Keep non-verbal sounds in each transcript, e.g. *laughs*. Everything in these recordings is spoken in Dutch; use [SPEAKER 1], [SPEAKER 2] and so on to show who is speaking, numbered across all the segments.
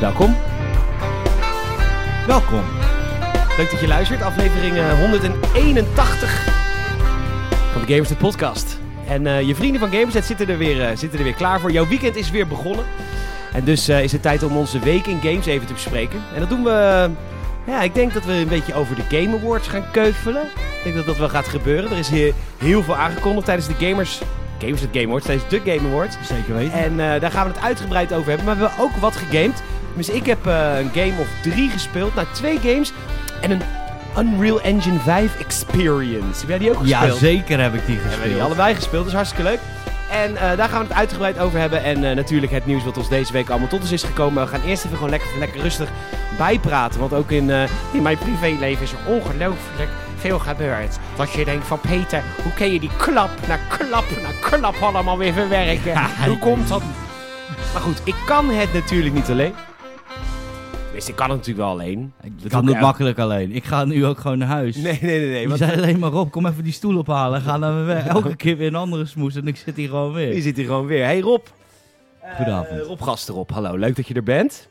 [SPEAKER 1] Welkom.
[SPEAKER 2] Welkom. Leuk dat je luistert. Aflevering eh, 181 van de Gamersnet podcast. En eh, je vrienden van Gamersnet zitten er, weer, eh, zitten er weer klaar voor. Jouw weekend is weer begonnen. En dus eh, is het tijd om onze week in games even te bespreken. En dat doen we... eh, ja, ik denk dat we een beetje over de Game Awards gaan keuvelen. Ik denk dat dat wel gaat gebeuren. Er is hier heel veel aangekondigd tijdens de Gamers... Gamersnet Game Awards, tijdens de Game Awards.
[SPEAKER 1] Zeker weten.
[SPEAKER 2] En eh, daar gaan we het uitgebreid over hebben. Maar we hebben ook wat gegamed. Dus ik heb eh, een game of drie gespeeld. Nou, twee games en een Unreal Engine 5 Experience. Heb jij die ook gespeeld?
[SPEAKER 1] Ja, zeker heb ik die gespeeld.
[SPEAKER 2] Hebben we die allebei gespeeld, dus hartstikke leuk. En eh, daar gaan we het uitgebreid over hebben. En eh, natuurlijk het nieuws wat ons deze week allemaal tot ons is gekomen. We gaan eerst even gewoon lekker, lekker rustig bijpraten. Want ook in, eh, in mijn privéleven is er ongelooflijk veel gebeurd. Dat je denkt van Peter, hoe kun je die klap na klap na klap allemaal weer verwerken? hoe komt dat? Maar goed, ik kan het natuurlijk niet alleen. Dus ik kan het natuurlijk wel alleen.
[SPEAKER 1] Ik kan
[SPEAKER 2] Dat doe
[SPEAKER 1] het
[SPEAKER 2] ik elke-
[SPEAKER 1] makkelijk alleen. Ik ga nu ook gewoon naar huis.
[SPEAKER 2] Nee, nee, nee. nee
[SPEAKER 1] Je
[SPEAKER 2] want-
[SPEAKER 1] zei alleen maar op, kom even die stoel ophalen. Ga dan weer weg. Elke keer weer een andere smoes en ik zit hier gewoon
[SPEAKER 2] Die
[SPEAKER 1] weer.
[SPEAKER 2] zit hier gewoon weer. Hey Rob.
[SPEAKER 1] Goedenavond.
[SPEAKER 2] Eh, Rob Gasterop, hallo. Leuk dat je er bent.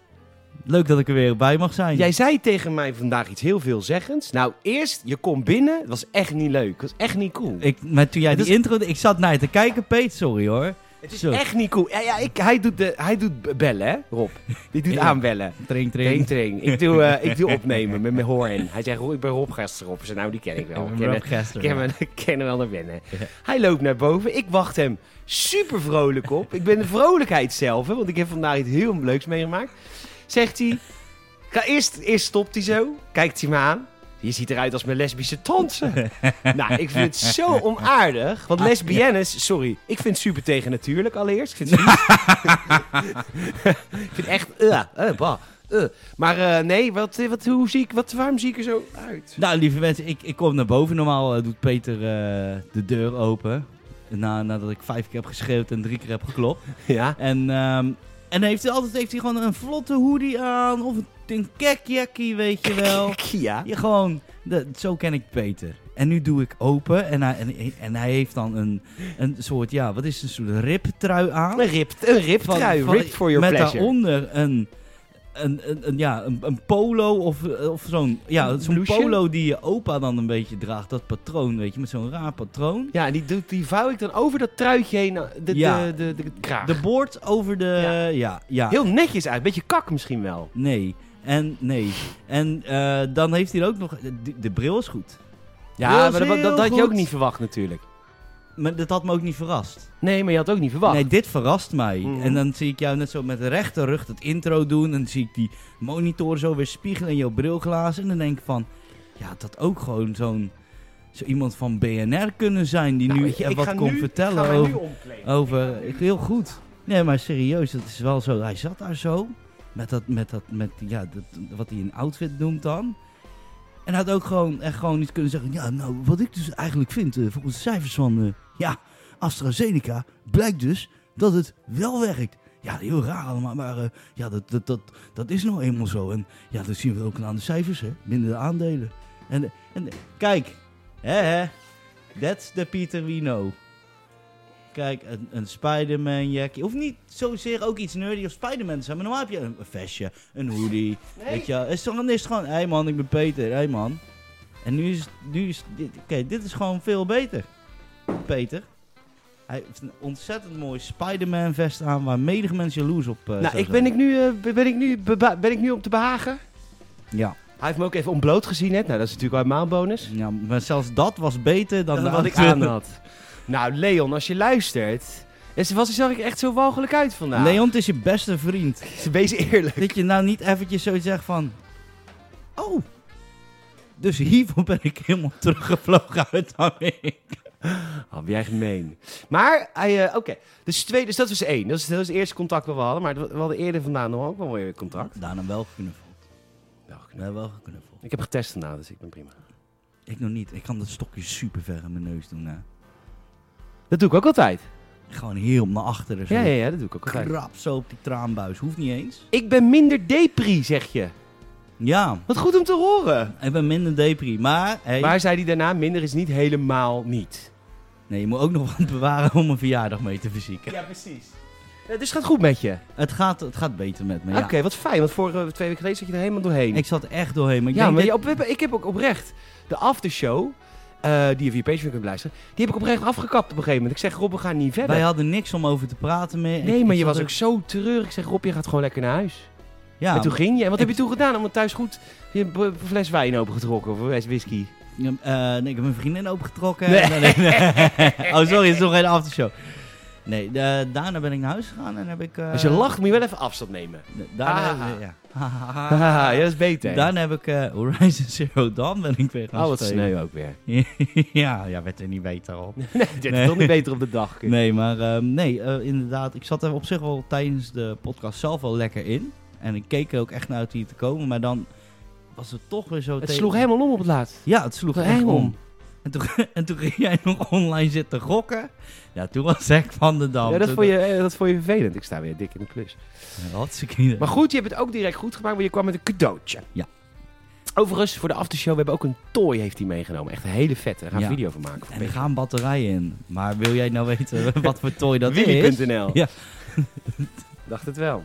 [SPEAKER 1] Leuk dat ik er weer bij mag zijn.
[SPEAKER 2] Jij zei tegen mij vandaag iets heel veelzeggends. Nou, eerst, je komt binnen. Het was echt niet leuk. Het was echt niet cool.
[SPEAKER 1] Ik, maar toen jij
[SPEAKER 2] Het
[SPEAKER 1] die intro... Ik zat naar je te kijken, Peet. Sorry hoor.
[SPEAKER 2] het is
[SPEAKER 1] zo.
[SPEAKER 2] echt niet cool. Ja, ja, ik, hij, doet de, hij doet b- bellen, hè, Rob. Die doet
[SPEAKER 1] Ja.
[SPEAKER 2] aanbellen.
[SPEAKER 1] Drink,
[SPEAKER 2] Train,
[SPEAKER 1] drink.
[SPEAKER 2] train. Ik doe, eh, ik doe opnemen met mijn hoorn. Hij zegt, "Rob, ik ben Rob Gasterop. Ik zei, nou, die ken ik wel. Ik ken,
[SPEAKER 1] Rob
[SPEAKER 2] ik ken,
[SPEAKER 1] Gester.
[SPEAKER 2] hem- *laughs* ik ken hem wel naar binnen.
[SPEAKER 1] Ja.
[SPEAKER 2] Hij loopt naar boven. Ik wacht hem super vrolijk op. Ik ben de vrolijkheid zelf, hè, want ik heb vandaag iets heel leuks meegemaakt. Zegt hij, Ga eerst, eerst stopt hij zo, kijkt hij me aan. Je ziet eruit als mijn lesbische tante. nou, ik vind het zo onaardig. Want lesbiennes, sorry, ik vind het super tegennatuurlijk allereerst. Ik vind het, ik vind het echt, eh, eh, bah, eh. Maar eh, nee, wat, eh, wat, hoe zie ik, wat, waarom zie ik er zo uit?
[SPEAKER 1] Nou, lieve mensen, ik, ik kom naar boven. Normaal eh, doet Peter eh, de deur open. Na, nadat ik vijf keer heb geschreeuwd en drie keer heb geklopt.
[SPEAKER 2] Ja,
[SPEAKER 1] En, ehm, en heeft hij altijd heeft hij gewoon een vlotte hoodie aan. Of een, een kekjakkie, weet je wel.
[SPEAKER 2] Kia.
[SPEAKER 1] Je gewoon, de- zo ken ik Peter. En nu doe ik open en hij, en, en hij heeft dan een, een soort, ja, wat is het, een soort riptrui aan.
[SPEAKER 2] Een rip, een rip
[SPEAKER 1] Van-
[SPEAKER 2] trui,
[SPEAKER 1] van-
[SPEAKER 2] ripped for your
[SPEAKER 1] met
[SPEAKER 2] pleasure.
[SPEAKER 1] daaronder een, een, een, een- ja, een, een polo of, of zo'n ja,
[SPEAKER 2] Een
[SPEAKER 1] zo'n
[SPEAKER 2] blouseje?
[SPEAKER 1] polo die je opa dan een beetje draagt. Dat patroon, weet je, met zo'n raar patroon.
[SPEAKER 2] Ja, en die, doet- die vouw ik dan over dat truitje heen, eh, de, de,
[SPEAKER 1] Ja.
[SPEAKER 2] de, de, de kraag.
[SPEAKER 1] De boord over de,
[SPEAKER 2] Ja.
[SPEAKER 1] ja, ja.
[SPEAKER 2] Heel netjes uit, beetje kak misschien wel.
[SPEAKER 1] Nee. En nee. En eh, dan heeft hij ook nog. De, de bril is goed.
[SPEAKER 2] Ja,
[SPEAKER 1] Heel
[SPEAKER 2] maar dat, dat, dat
[SPEAKER 1] heel
[SPEAKER 2] had je ook
[SPEAKER 1] goed.
[SPEAKER 2] niet verwacht natuurlijk.
[SPEAKER 1] Maar dat had me ook niet verrast.
[SPEAKER 2] Nee, maar je had ook niet verwacht.
[SPEAKER 1] Nee, dit verrast mij.
[SPEAKER 2] Mhm.
[SPEAKER 1] En dan zie ik jou net zo met de rechter rug dat intro doen. En dan zie ik die monitor zo weer spiegelen in jouw brilglazen. En dan denk ik van. Ja, dat ook gewoon zo'n. Zo iemand van BNR kunnen zijn die
[SPEAKER 2] Nou,
[SPEAKER 1] nu
[SPEAKER 2] weet je,
[SPEAKER 1] eh,
[SPEAKER 2] ik
[SPEAKER 1] wat
[SPEAKER 2] ga
[SPEAKER 1] kon
[SPEAKER 2] nu-
[SPEAKER 1] vertellen
[SPEAKER 2] ik ga mij nu
[SPEAKER 1] over.
[SPEAKER 2] omkleden.
[SPEAKER 1] over eh, heel goed. Nee, maar serieus, dat is wel zo. Hij zat daar zo. Met dat, met dat, met ja, dat, wat hij een outfit noemt dan. En hij had ook gewoon, echt gewoon iets kunnen zeggen. Ja, nou, wat ik dus eigenlijk vind, eh, volgens de cijfers van, eh, ja, AstraZeneca, blijkt dus dat het wel werkt. Ja, heel raar allemaal, maar eh, ja, dat, dat, dat, dat is nou eenmaal zo. En ja, dat zien we ook aan de cijfers, hè, binnen de aandelen. En, en kijk, hè, hè, that's the Peter we know. Kijk, een, een Spider-Man jackie. Hoeft niet zozeer ook iets nerdy of Spider-Man te zijn. Maar normaal heb je een, een vestje, een hoodie. Weet je, wel. is toch dan is het gewoon, hé hey man, ik ben Peter, hé hey man. En nu is, nu is dit, oké, dit is gewoon veel beter. Peter. Hij heeft een ontzettend mooi Spider-Man vest aan waar medige mensen jaloers op eh,
[SPEAKER 2] Nou,
[SPEAKER 1] zou
[SPEAKER 2] ik
[SPEAKER 1] zijn.
[SPEAKER 2] ben, ik nu, eh, ben, ik nu, beba- ben ik nu om te behagen?
[SPEAKER 1] Ja.
[SPEAKER 2] Hij heeft me ook even ontbloot gezien net. Nou, dat is natuurlijk wel een bonus.
[SPEAKER 1] ja, maar zelfs dat was beter dan,
[SPEAKER 2] Dan
[SPEAKER 1] de
[SPEAKER 2] wat ik
[SPEAKER 1] andere.
[SPEAKER 2] aan had. Nou, Leon, als je luistert... Dus was, zag ik echt zo walgelijk uit vandaag.
[SPEAKER 1] Leon, het is je beste vriend.
[SPEAKER 2] wees eerlijk.
[SPEAKER 1] Dat je nou niet eventjes zo zegt van... Oh, dus hiervoor ben ik helemaal *laughs* teruggevlogen uit Amerika.
[SPEAKER 2] Oh, ben jij gemeen. Maar, hij, eh, oké. Dus, twee, dus dat was één. Dat is, dat was het eerste contact dat we hadden. Maar we hadden eerder vandaag nog ook wel weer contact.
[SPEAKER 1] Daarna wel geknuffeld.
[SPEAKER 2] Nou, goed.
[SPEAKER 1] Nee, wel geknuffeld.
[SPEAKER 2] ik heb getest vandaag, dus ik ben prima.
[SPEAKER 1] Ik nog niet. Ik kan dat stokje super ver in mijn neus doen. Hè.
[SPEAKER 2] Dat doe ik ook altijd.
[SPEAKER 1] Gewoon heel naar achteren. Zo.
[SPEAKER 2] Ja, ja, ja, dat doe ik ook altijd.
[SPEAKER 1] Krap zo op die traanbuis. Hoeft niet eens.
[SPEAKER 2] Ik ben minder depri, zeg je.
[SPEAKER 1] Ja,
[SPEAKER 2] Wat goed om te horen.
[SPEAKER 1] ik ben minder depri. Maar, hey,
[SPEAKER 2] Maar zei hij daarna, minder is niet helemaal niet.
[SPEAKER 1] Nee, je moet ook nog wat bewaren om een verjaardag mee te verzieken.
[SPEAKER 2] Ja, precies. Eh, Dus het gaat goed met je.
[SPEAKER 1] Het gaat, het gaat beter met me, ja.
[SPEAKER 2] Oké, wat fijn. Want vorige twee weken geleden zat je er helemaal doorheen.
[SPEAKER 1] Ik zat echt doorheen, maar ik
[SPEAKER 2] ja,
[SPEAKER 1] denk
[SPEAKER 2] maar
[SPEAKER 1] dit-
[SPEAKER 2] je- op, we hebben- ik heb ook oprecht de aftershow, eh die je via Patreon kunt luisteren, die heb ik oprecht afgekapt op een gegeven moment. Ik zeg, Rob, we gaan niet verder.
[SPEAKER 1] wij hadden niks om over te praten meer. Ik-
[SPEAKER 2] nee,
[SPEAKER 1] ik
[SPEAKER 2] maar je
[SPEAKER 1] zat
[SPEAKER 2] was ook zo treurig. Ik zeg, Rob, je gaat gewoon lekker naar huis.
[SPEAKER 1] Ja,
[SPEAKER 2] en toen ging je. En wat
[SPEAKER 1] ik-
[SPEAKER 2] heb je toen gedaan? Om het thuis goed je hebt een fles wijn opengetrokken of een fles whisky.
[SPEAKER 1] eh, nee, ik heb mijn vriendin opengetrokken.
[SPEAKER 2] Nee.
[SPEAKER 1] Nee, nee, nee. *laughs* Oh, sorry, het is nog geen aftershow. Nee, eh, daarna ben ik naar huis gegaan en heb ik... eh,
[SPEAKER 2] Als je lacht, moet je wel even afstand nemen.
[SPEAKER 1] Daarna,
[SPEAKER 2] Ah.
[SPEAKER 1] ja. eh, *laughs*
[SPEAKER 2] Haha, *laughs* ja, dat is beter.
[SPEAKER 1] Daarna heb ik eh, Horizon Zero Dawn ben ik weer gaan
[SPEAKER 2] oh, wat
[SPEAKER 1] spelen.
[SPEAKER 2] sneu ook weer. *laughs*
[SPEAKER 1] *laughs* ja, ja, werd er niet beter op.
[SPEAKER 2] nee, dit is
[SPEAKER 1] Nee.
[SPEAKER 2] toch niet beter op de dag.
[SPEAKER 1] *laughs*
[SPEAKER 2] kind.
[SPEAKER 1] Nee, maar ehm, nee, eh, inderdaad. Ik zat er op zich wel tijdens de podcast zelf wel lekker in. En ik keek er ook echt naar uit hier te komen. Maar dan was het toch weer zo
[SPEAKER 2] Het
[SPEAKER 1] tegen-
[SPEAKER 2] sloeg helemaal om op het laatst.
[SPEAKER 1] Ja, het sloeg
[SPEAKER 2] Sloeg
[SPEAKER 1] echt
[SPEAKER 2] helemaal
[SPEAKER 1] om. En toen, *laughs* en toen ging jij nog online zitten gokken. Ja, toen was ik van de dam.
[SPEAKER 2] Ja, dat
[SPEAKER 1] Toen-
[SPEAKER 2] vond, je, eh, dat vond je vervelend. Ik sta weer dik in de plus.
[SPEAKER 1] Hartstikke idee.
[SPEAKER 2] Maar goed, je hebt het ook direct goed gemaakt, want je kwam met een cadeautje.
[SPEAKER 1] Ja.
[SPEAKER 2] Overigens, voor de aftershow, we hebben ook een toy heeft hij meegenomen. Echt een hele vette. Daar gaan we
[SPEAKER 1] Ja.
[SPEAKER 2] video van maken.
[SPEAKER 1] En er gaan batterijen in. Maar wil jij nou weten *laughs* wat voor toy dat is?
[SPEAKER 2] Willy.nl.
[SPEAKER 1] Ja.
[SPEAKER 2] *laughs* Dacht het wel.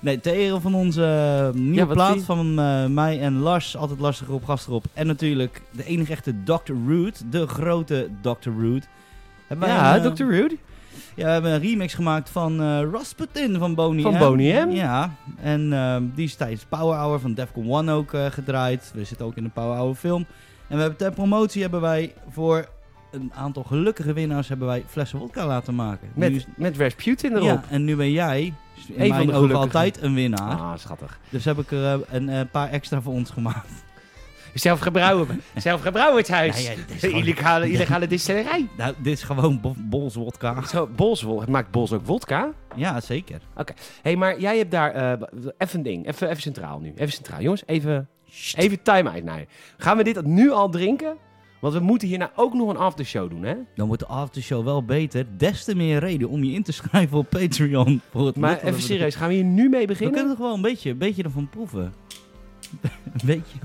[SPEAKER 1] Nee, ter ere van onze eh,
[SPEAKER 2] Ja,
[SPEAKER 1] nieuwe
[SPEAKER 2] wat
[SPEAKER 1] plaat
[SPEAKER 2] zie-
[SPEAKER 1] van eh, mij en Lars. Altijd lastig op, gast erop. En natuurlijk de enige echte Dr. Root. De grote Dr. Root. Hebben wij
[SPEAKER 2] ja,
[SPEAKER 1] een, eh,
[SPEAKER 2] Dr. Rude.
[SPEAKER 1] Ja, we hebben een remix gemaakt van eh Rasputin van Boney
[SPEAKER 2] Van
[SPEAKER 1] M.
[SPEAKER 2] Boney M?
[SPEAKER 1] Ja, en ehm, die is tijdens Power Hour van Defcon 1 ook eh, gedraaid. We zitten ook in de Power Hour film. En we hebben ter promotie hebben wij voor een aantal gelukkige winnaars hebben wij flessen wodka laten maken. Nu is-
[SPEAKER 2] Met, met Rasputin erop.
[SPEAKER 1] ja, en nu ben jij dus in
[SPEAKER 2] Eén van
[SPEAKER 1] mijn ogen
[SPEAKER 2] de gelukkigen.
[SPEAKER 1] altijd een winnaar.
[SPEAKER 2] Ah, schattig.
[SPEAKER 1] Dus heb ik er eh, een eh, paar extra voor ons gemaakt.
[SPEAKER 2] Zelf
[SPEAKER 1] *laughs*
[SPEAKER 2] gebrouwen. Zelf gebrouwen het huis.
[SPEAKER 1] Ja, ja, dit is
[SPEAKER 2] De
[SPEAKER 1] gewoon-
[SPEAKER 2] illegale, illegale distillerij.
[SPEAKER 1] *laughs* Nou, dit is gewoon bo- bols wodka.
[SPEAKER 2] Zo, Bols, wo- maakt Bols ook wodka?
[SPEAKER 1] Ja, zeker.
[SPEAKER 2] Hé, hey, maar jij hebt daar... eh, even een ding. Even, even centraal nu. Even centraal. Jongens, even, even time-out naar. Gaan we dit nu al drinken? Want we moeten hierna ook nog een aftershow doen, hè?
[SPEAKER 1] Dan wordt de aftershow wel beter. Des te meer reden om je in te schrijven op Patreon. Voor het
[SPEAKER 2] Maar
[SPEAKER 1] nut wat
[SPEAKER 2] even
[SPEAKER 1] we doen.
[SPEAKER 2] serieus, gaan we hier nu mee
[SPEAKER 1] We kunnen
[SPEAKER 2] beginnen?
[SPEAKER 1] er gewoon een beetje, een beetje ervan proeven. *laughs* een beetje.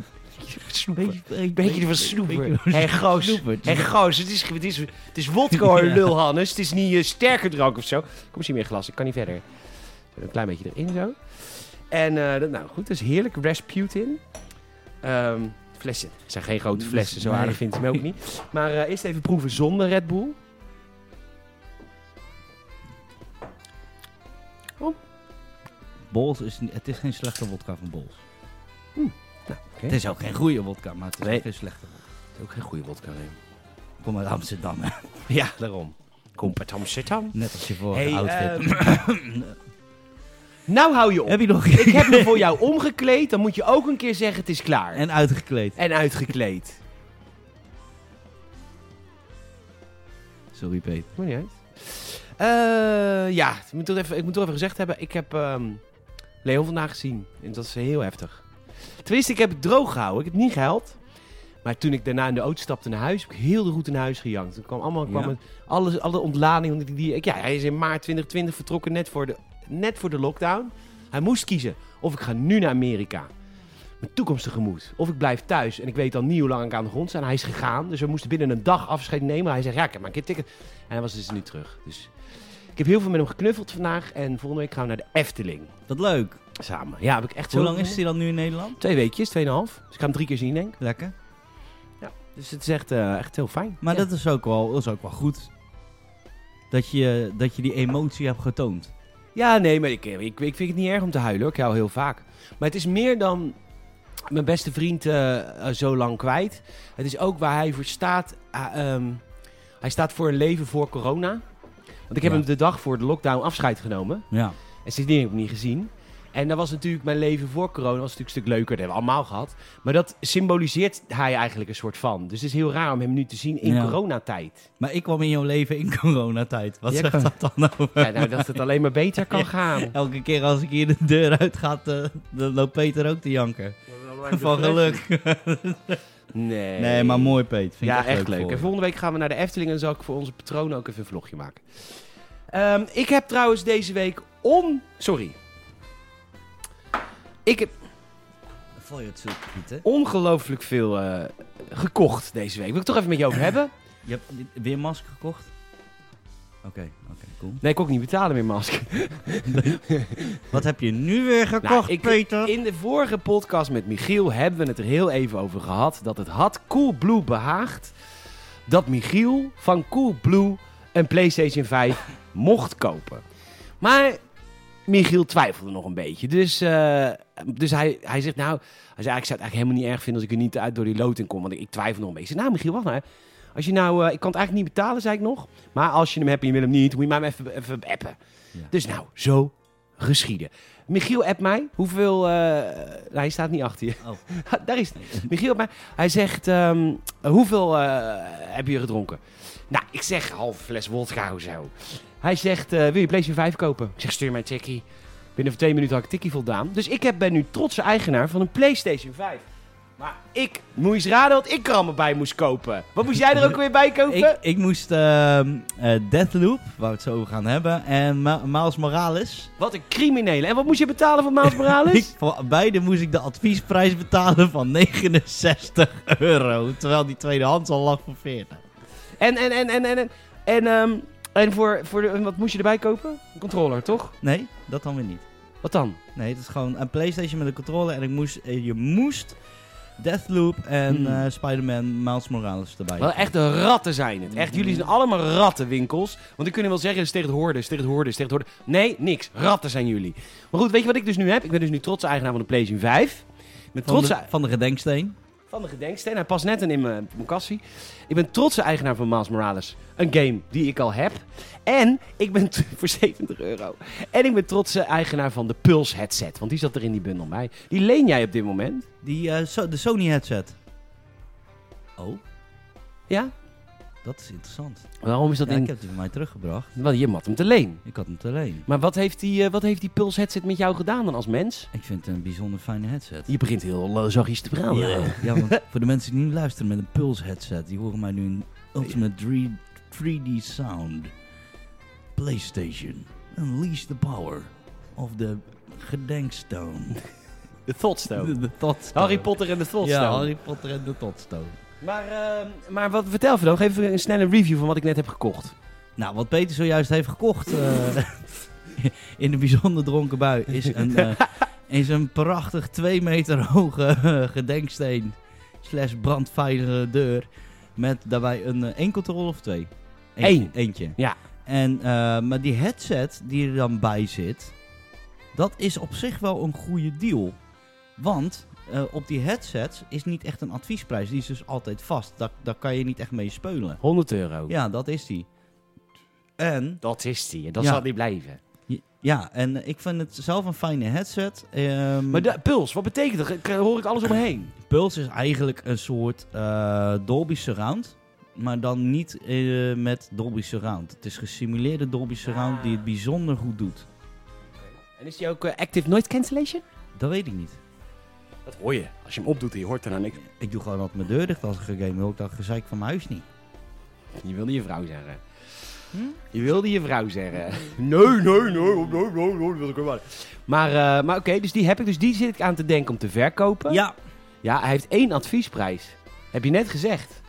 [SPEAKER 1] Een beetje,
[SPEAKER 2] Een
[SPEAKER 1] een
[SPEAKER 2] beetje van
[SPEAKER 1] beetje
[SPEAKER 2] snoepen.
[SPEAKER 1] van
[SPEAKER 2] Hé, goos.
[SPEAKER 1] snoepen.
[SPEAKER 2] Hé, goos. Het is, het is, het is wodka, hoor,
[SPEAKER 1] Ja.
[SPEAKER 2] lul, Hannes. Het is niet eh, sterke drank of zo. Kom eens hier meer glas. Ik kan niet verder. Zo, Een klein beetje erin, zo. En, eh, dat, nou goed, dat is heerlijk. Rasputin. Ehm flessen. Het zijn geen grote flessen. Zo
[SPEAKER 1] Nee.
[SPEAKER 2] aardig vindt hij me ook niet. Maar eh, eerst even proeven zonder Red Bull.
[SPEAKER 1] Bols is, niet- het is geen slechte wodka van Bols.
[SPEAKER 2] Nou, oké.
[SPEAKER 1] Het is ook geen goede wodka, maar het is
[SPEAKER 2] Nee.
[SPEAKER 1] ook geen slechte.
[SPEAKER 2] Het is ook geen goede wodka, hè.
[SPEAKER 1] Kom uit Amsterdam, hè. *laughs*
[SPEAKER 2] Ja, daarom. Kom uit Amsterdam.
[SPEAKER 1] Net als je voor
[SPEAKER 2] Hey,
[SPEAKER 1] outfit.
[SPEAKER 2] ehm, *coughs* nou hou je op.
[SPEAKER 1] Heb je nog...
[SPEAKER 2] Ik heb me voor jou omgekleed. Dan moet je ook een keer zeggen: het is klaar. En,
[SPEAKER 1] en uitgekleed.
[SPEAKER 2] uitgekleed.
[SPEAKER 1] Sorry, Peet.
[SPEAKER 2] Moet niet uit. Eh, ja, ik moet, toch even, ik moet toch even gezegd hebben: ik heb ehm, Leon vandaag gezien. En dat is heel heftig. Tenminste, ik heb het droog gehouden. Ik heb het niet gehuild. Maar toen ik daarna in de auto stapte naar huis, heb ik heel de route naar huis gejankt. Toen kwam allemaal kwam
[SPEAKER 1] Ja.
[SPEAKER 2] het, alles, alle ontlading. Die, die, ik- ja, hij is in maart 2020 vertrokken, net voor, de, net voor de lockdown. Hij moest kiezen of ik ga nu naar Amerika. Mijn toekomst tegemoet. Of ik blijf thuis en ik weet dan niet hoe lang ik aan de grond sta. En hij is gegaan, dus we moesten binnen een dag afscheid nemen. Hij zegt, ja, ik heb maar een keer ticket. En hij was dus nu terug. Dus ik heb heel veel met hem geknuffeld vandaag. En volgende week gaan we naar de Efteling
[SPEAKER 1] Wat leuk.
[SPEAKER 2] samen. Ja, heb ik echt zo...
[SPEAKER 1] Hoe lang is hij dan nu in Nederland?
[SPEAKER 2] Twee weekjes, tweeënhalf. Dus ik ga hem drie keer zien, denk ik.
[SPEAKER 1] Lekker.
[SPEAKER 2] Dus het is echt, eh, echt heel fijn.
[SPEAKER 1] Maar
[SPEAKER 2] Ja.
[SPEAKER 1] dat, is ook wel, dat is ook wel goed. Dat je, dat je die emotie hebt getoond.
[SPEAKER 2] Ja, nee, maar ik, eh, ik, ik vind het niet erg om te huilen hoor. Ik huil heel vaak. Maar het is meer dan mijn beste vriend eh, eh, zo lang kwijt. Het is ook waar hij voor staat. Ah, ehm, hij staat voor een leven voor corona. Want ik heb
[SPEAKER 1] Ja.
[SPEAKER 2] hem de dag voor de lockdown afscheid genomen.
[SPEAKER 1] Ja.
[SPEAKER 2] En sindsdien heb ik hem niet gezien. En dat was natuurlijk mijn leven voor corona. was natuurlijk een stuk leuker. Dat hebben we allemaal gehad. Maar dat symboliseert hij eigenlijk een soort van. Dus het is heel raar om hem nu te zien in
[SPEAKER 1] Ja.
[SPEAKER 2] coronatijd.
[SPEAKER 1] Maar ik kwam in jouw leven in coronatijd. Wat
[SPEAKER 2] Ja,
[SPEAKER 1] zegt
[SPEAKER 2] kan-
[SPEAKER 1] dat dan nou?
[SPEAKER 2] Ja, nou, dat het alleen maar beter
[SPEAKER 1] *laughs*
[SPEAKER 2] kan gaan.
[SPEAKER 1] Elke keer als ik hier de deur uit ga, eh, dan loopt Peter ook te janken. Van geluk.
[SPEAKER 2] Nee.
[SPEAKER 1] Nee, maar mooi, Peter. Vind ik
[SPEAKER 2] ja, echt, leuk.
[SPEAKER 1] voor
[SPEAKER 2] En
[SPEAKER 1] je.
[SPEAKER 2] volgende week gaan we naar de Efteling en dan zal ik voor onze patronen ook even een vlogje maken. Ehm, ik heb trouwens deze week on... Sorry. Ik heb
[SPEAKER 1] Voor je het zoek, Pieter.
[SPEAKER 2] ongelooflijk veel eh, gekocht deze week. Wil ik het toch even met je over hebben?
[SPEAKER 1] Je hebt dit- weer masker gekocht? Oké, oké, cool.
[SPEAKER 2] Nee, ik kon ook niet betalen meer masker.
[SPEAKER 3] Wat heb je nu weer gekocht,
[SPEAKER 2] Nou, ik-
[SPEAKER 3] Peter?
[SPEAKER 2] In de vorige podcast met Michiel hebben we het er heel even over gehad. Dat het had Coolblue behaagd dat Michiel van Coolblue een PlayStation 5 mocht kopen. Maar Michiel twijfelde nog een beetje. Dus, eh, dus hij, hij zegt nou, hij zei, ik zou het eigenlijk helemaal niet erg vinden als ik er niet uit door die loting kom. Want ik, ik twijfel nog een beetje. Ik zei, nou Michiel, wacht maar. Als je nou, eh, ik kan het eigenlijk niet betalen, zei ik nog. Maar als je hem hebt en je wil hem niet, moet je mij maar even, even appen.
[SPEAKER 1] Ja.
[SPEAKER 2] Dus nou, zo geschieden. Michiel appt mij. Hoeveel... eh, nou, hij staat niet achter je.
[SPEAKER 1] Oh.
[SPEAKER 2] *laughs* Daar is het. Michiel appt mij. Hij zegt, ehm, hoeveel eh, heb je gedronken? Nou, ik zeg halve fles wodka of zo. Hij zegt, eh, wil je PlayStation 5 kopen? Ik zeg, stuur mij een tikkie. Binnen twee minuten had ik tikkie voldaan. Dus ik heb- ben nu trotse eigenaar van een PlayStation 5. Maar ik, moet je eens raden wat ik er allemaal bij moest kopen. Wat moest jij er *laughs* ook weer bij kopen?
[SPEAKER 1] Ik, ik moest ehm, eh, Deathloop, waar we het zo over gaan hebben, en Ma- Miles Morales.
[SPEAKER 2] Wat een criminele. En wat moest je betalen voor *laughs* Miles Morales?
[SPEAKER 1] Ik, voor beide moest ik de adviesprijs betalen van *laughs* 69 euro. Terwijl die tweedehands al lag voor 40.
[SPEAKER 2] En, en, en, en, en, en, en, ehm, en voor, voor de, en wat moest je erbij kopen? Een controller, toch?
[SPEAKER 1] Nee, dat dan weer niet.
[SPEAKER 2] Wat dan?
[SPEAKER 1] Nee, het is gewoon een PlayStation met een controller. En ik moest, eh, je moest Deathloop en
[SPEAKER 2] Hmm.
[SPEAKER 1] eh, Spider-Man Miles Morales erbij.
[SPEAKER 2] Wel echt ratten zijn het. Echt, jullie zijn allemaal rattenwinkels. Want die kunnen wel zeggen, het is tegen de hoorde, het is tegen de hoorde, het is tegen de hoorde. Nee, niks. Ratten zijn jullie. Maar goed, weet je wat ik dus nu heb? Ik ben dus nu trotse eigenaar van de PlayStation 5. Met
[SPEAKER 1] van,
[SPEAKER 2] trotse
[SPEAKER 1] de, van de gedenksteen.
[SPEAKER 2] Van de gedenksteen. Hij past net in in mijn, mijn kassie. Ik ben trotse eigenaar van Miles Morales. Een game die ik al heb. En ik ben t- *laughs* voor 70 euro. En ik ben trotse eigenaar van de Pulse headset. Want die zat er in die bundel bij. Die leen jij op dit moment.
[SPEAKER 1] Die, eh, so- de Sony headset. Oh,
[SPEAKER 2] Ja?
[SPEAKER 1] dat is interessant.
[SPEAKER 2] Waarom is dat
[SPEAKER 1] Ja,
[SPEAKER 2] in...
[SPEAKER 1] ik heb die van mij teruggebracht.
[SPEAKER 2] Wel, je mat hem te leen.
[SPEAKER 1] Ik had hem te leen.
[SPEAKER 2] Maar wat heeft, die, eh, wat heeft die Pulse headset met jou gedaan dan als mens?
[SPEAKER 1] Ik vind het een bijzonder fijne headset.
[SPEAKER 2] Je begint heel eh, zachtjes te praten.
[SPEAKER 1] Ja, ja, want voor de mensen die niet luisteren met een Pulse headset, die horen mij nu een Ultimate 3, 3D Sound. PlayStation. Unleash the power of the gedenkstone.
[SPEAKER 2] De Thoughtstone.
[SPEAKER 1] De, de Totstone.
[SPEAKER 2] Harry Potter en de Thoughtstone.
[SPEAKER 1] Ja, Harry Potter en de Totstone.
[SPEAKER 2] Maar, eh, maar wat vertel even dan? Geef even een snelle review van wat ik net heb gekocht.
[SPEAKER 1] Nou, wat Peter zojuist heeft gekocht eh, *laughs* in de bijzonder dronken bui is een,
[SPEAKER 2] *laughs*
[SPEAKER 1] eh, is een prachtig 2 meter hoge eh, gedenksteen slash brandveilige deur met daarbij een eh, één controle of twee?
[SPEAKER 2] Eén.
[SPEAKER 1] Eentje.
[SPEAKER 2] Ja.
[SPEAKER 1] En, eh, maar die headset die er dan bij zit, dat is op zich wel een goede deal. Want eh, op die headsets is niet echt een adviesprijs, die is dus altijd vast. Daar, daar kan je niet echt mee speulen.
[SPEAKER 2] 100 euro.
[SPEAKER 1] Ja, dat is die. En
[SPEAKER 2] Dat is die. en Dat
[SPEAKER 1] Ja.
[SPEAKER 2] zal die blijven.
[SPEAKER 1] ja, en ik vind het zelf een fijne headset. Ehm
[SPEAKER 2] Maar de, Puls, wat betekent dat? Ik- Hoor ik alles omheen?
[SPEAKER 1] Pulse is eigenlijk een soort eh, Dolby Surround. Maar dan niet eh, met Dolby Surround. Het is gesimuleerde Dolby Surround die het bijzonder goed doet.
[SPEAKER 2] En is die ook eh, active noise cancellation?
[SPEAKER 1] Dat weet ik niet.
[SPEAKER 2] Dat hoor je. Als je hem opdoet, je hoort er dan niks.
[SPEAKER 1] Ik doe gewoon altijd mijn deur dicht als ik een game wil. Ik dat gezeik van mijn huis niet.
[SPEAKER 2] Je wilde je vrouw zeggen. Je wilde je vrouw zeggen. Nee, nee, nee, nee, nee, nee, nee, dat wil ik helemaal niet. Maar, eh, maar oké, dus die heb ik. Dus die zit ik aan te denken om te verkopen.
[SPEAKER 1] Ja, *laughs*
[SPEAKER 2] Ja, hij heeft één adviesprijs. Heb je net gezegd.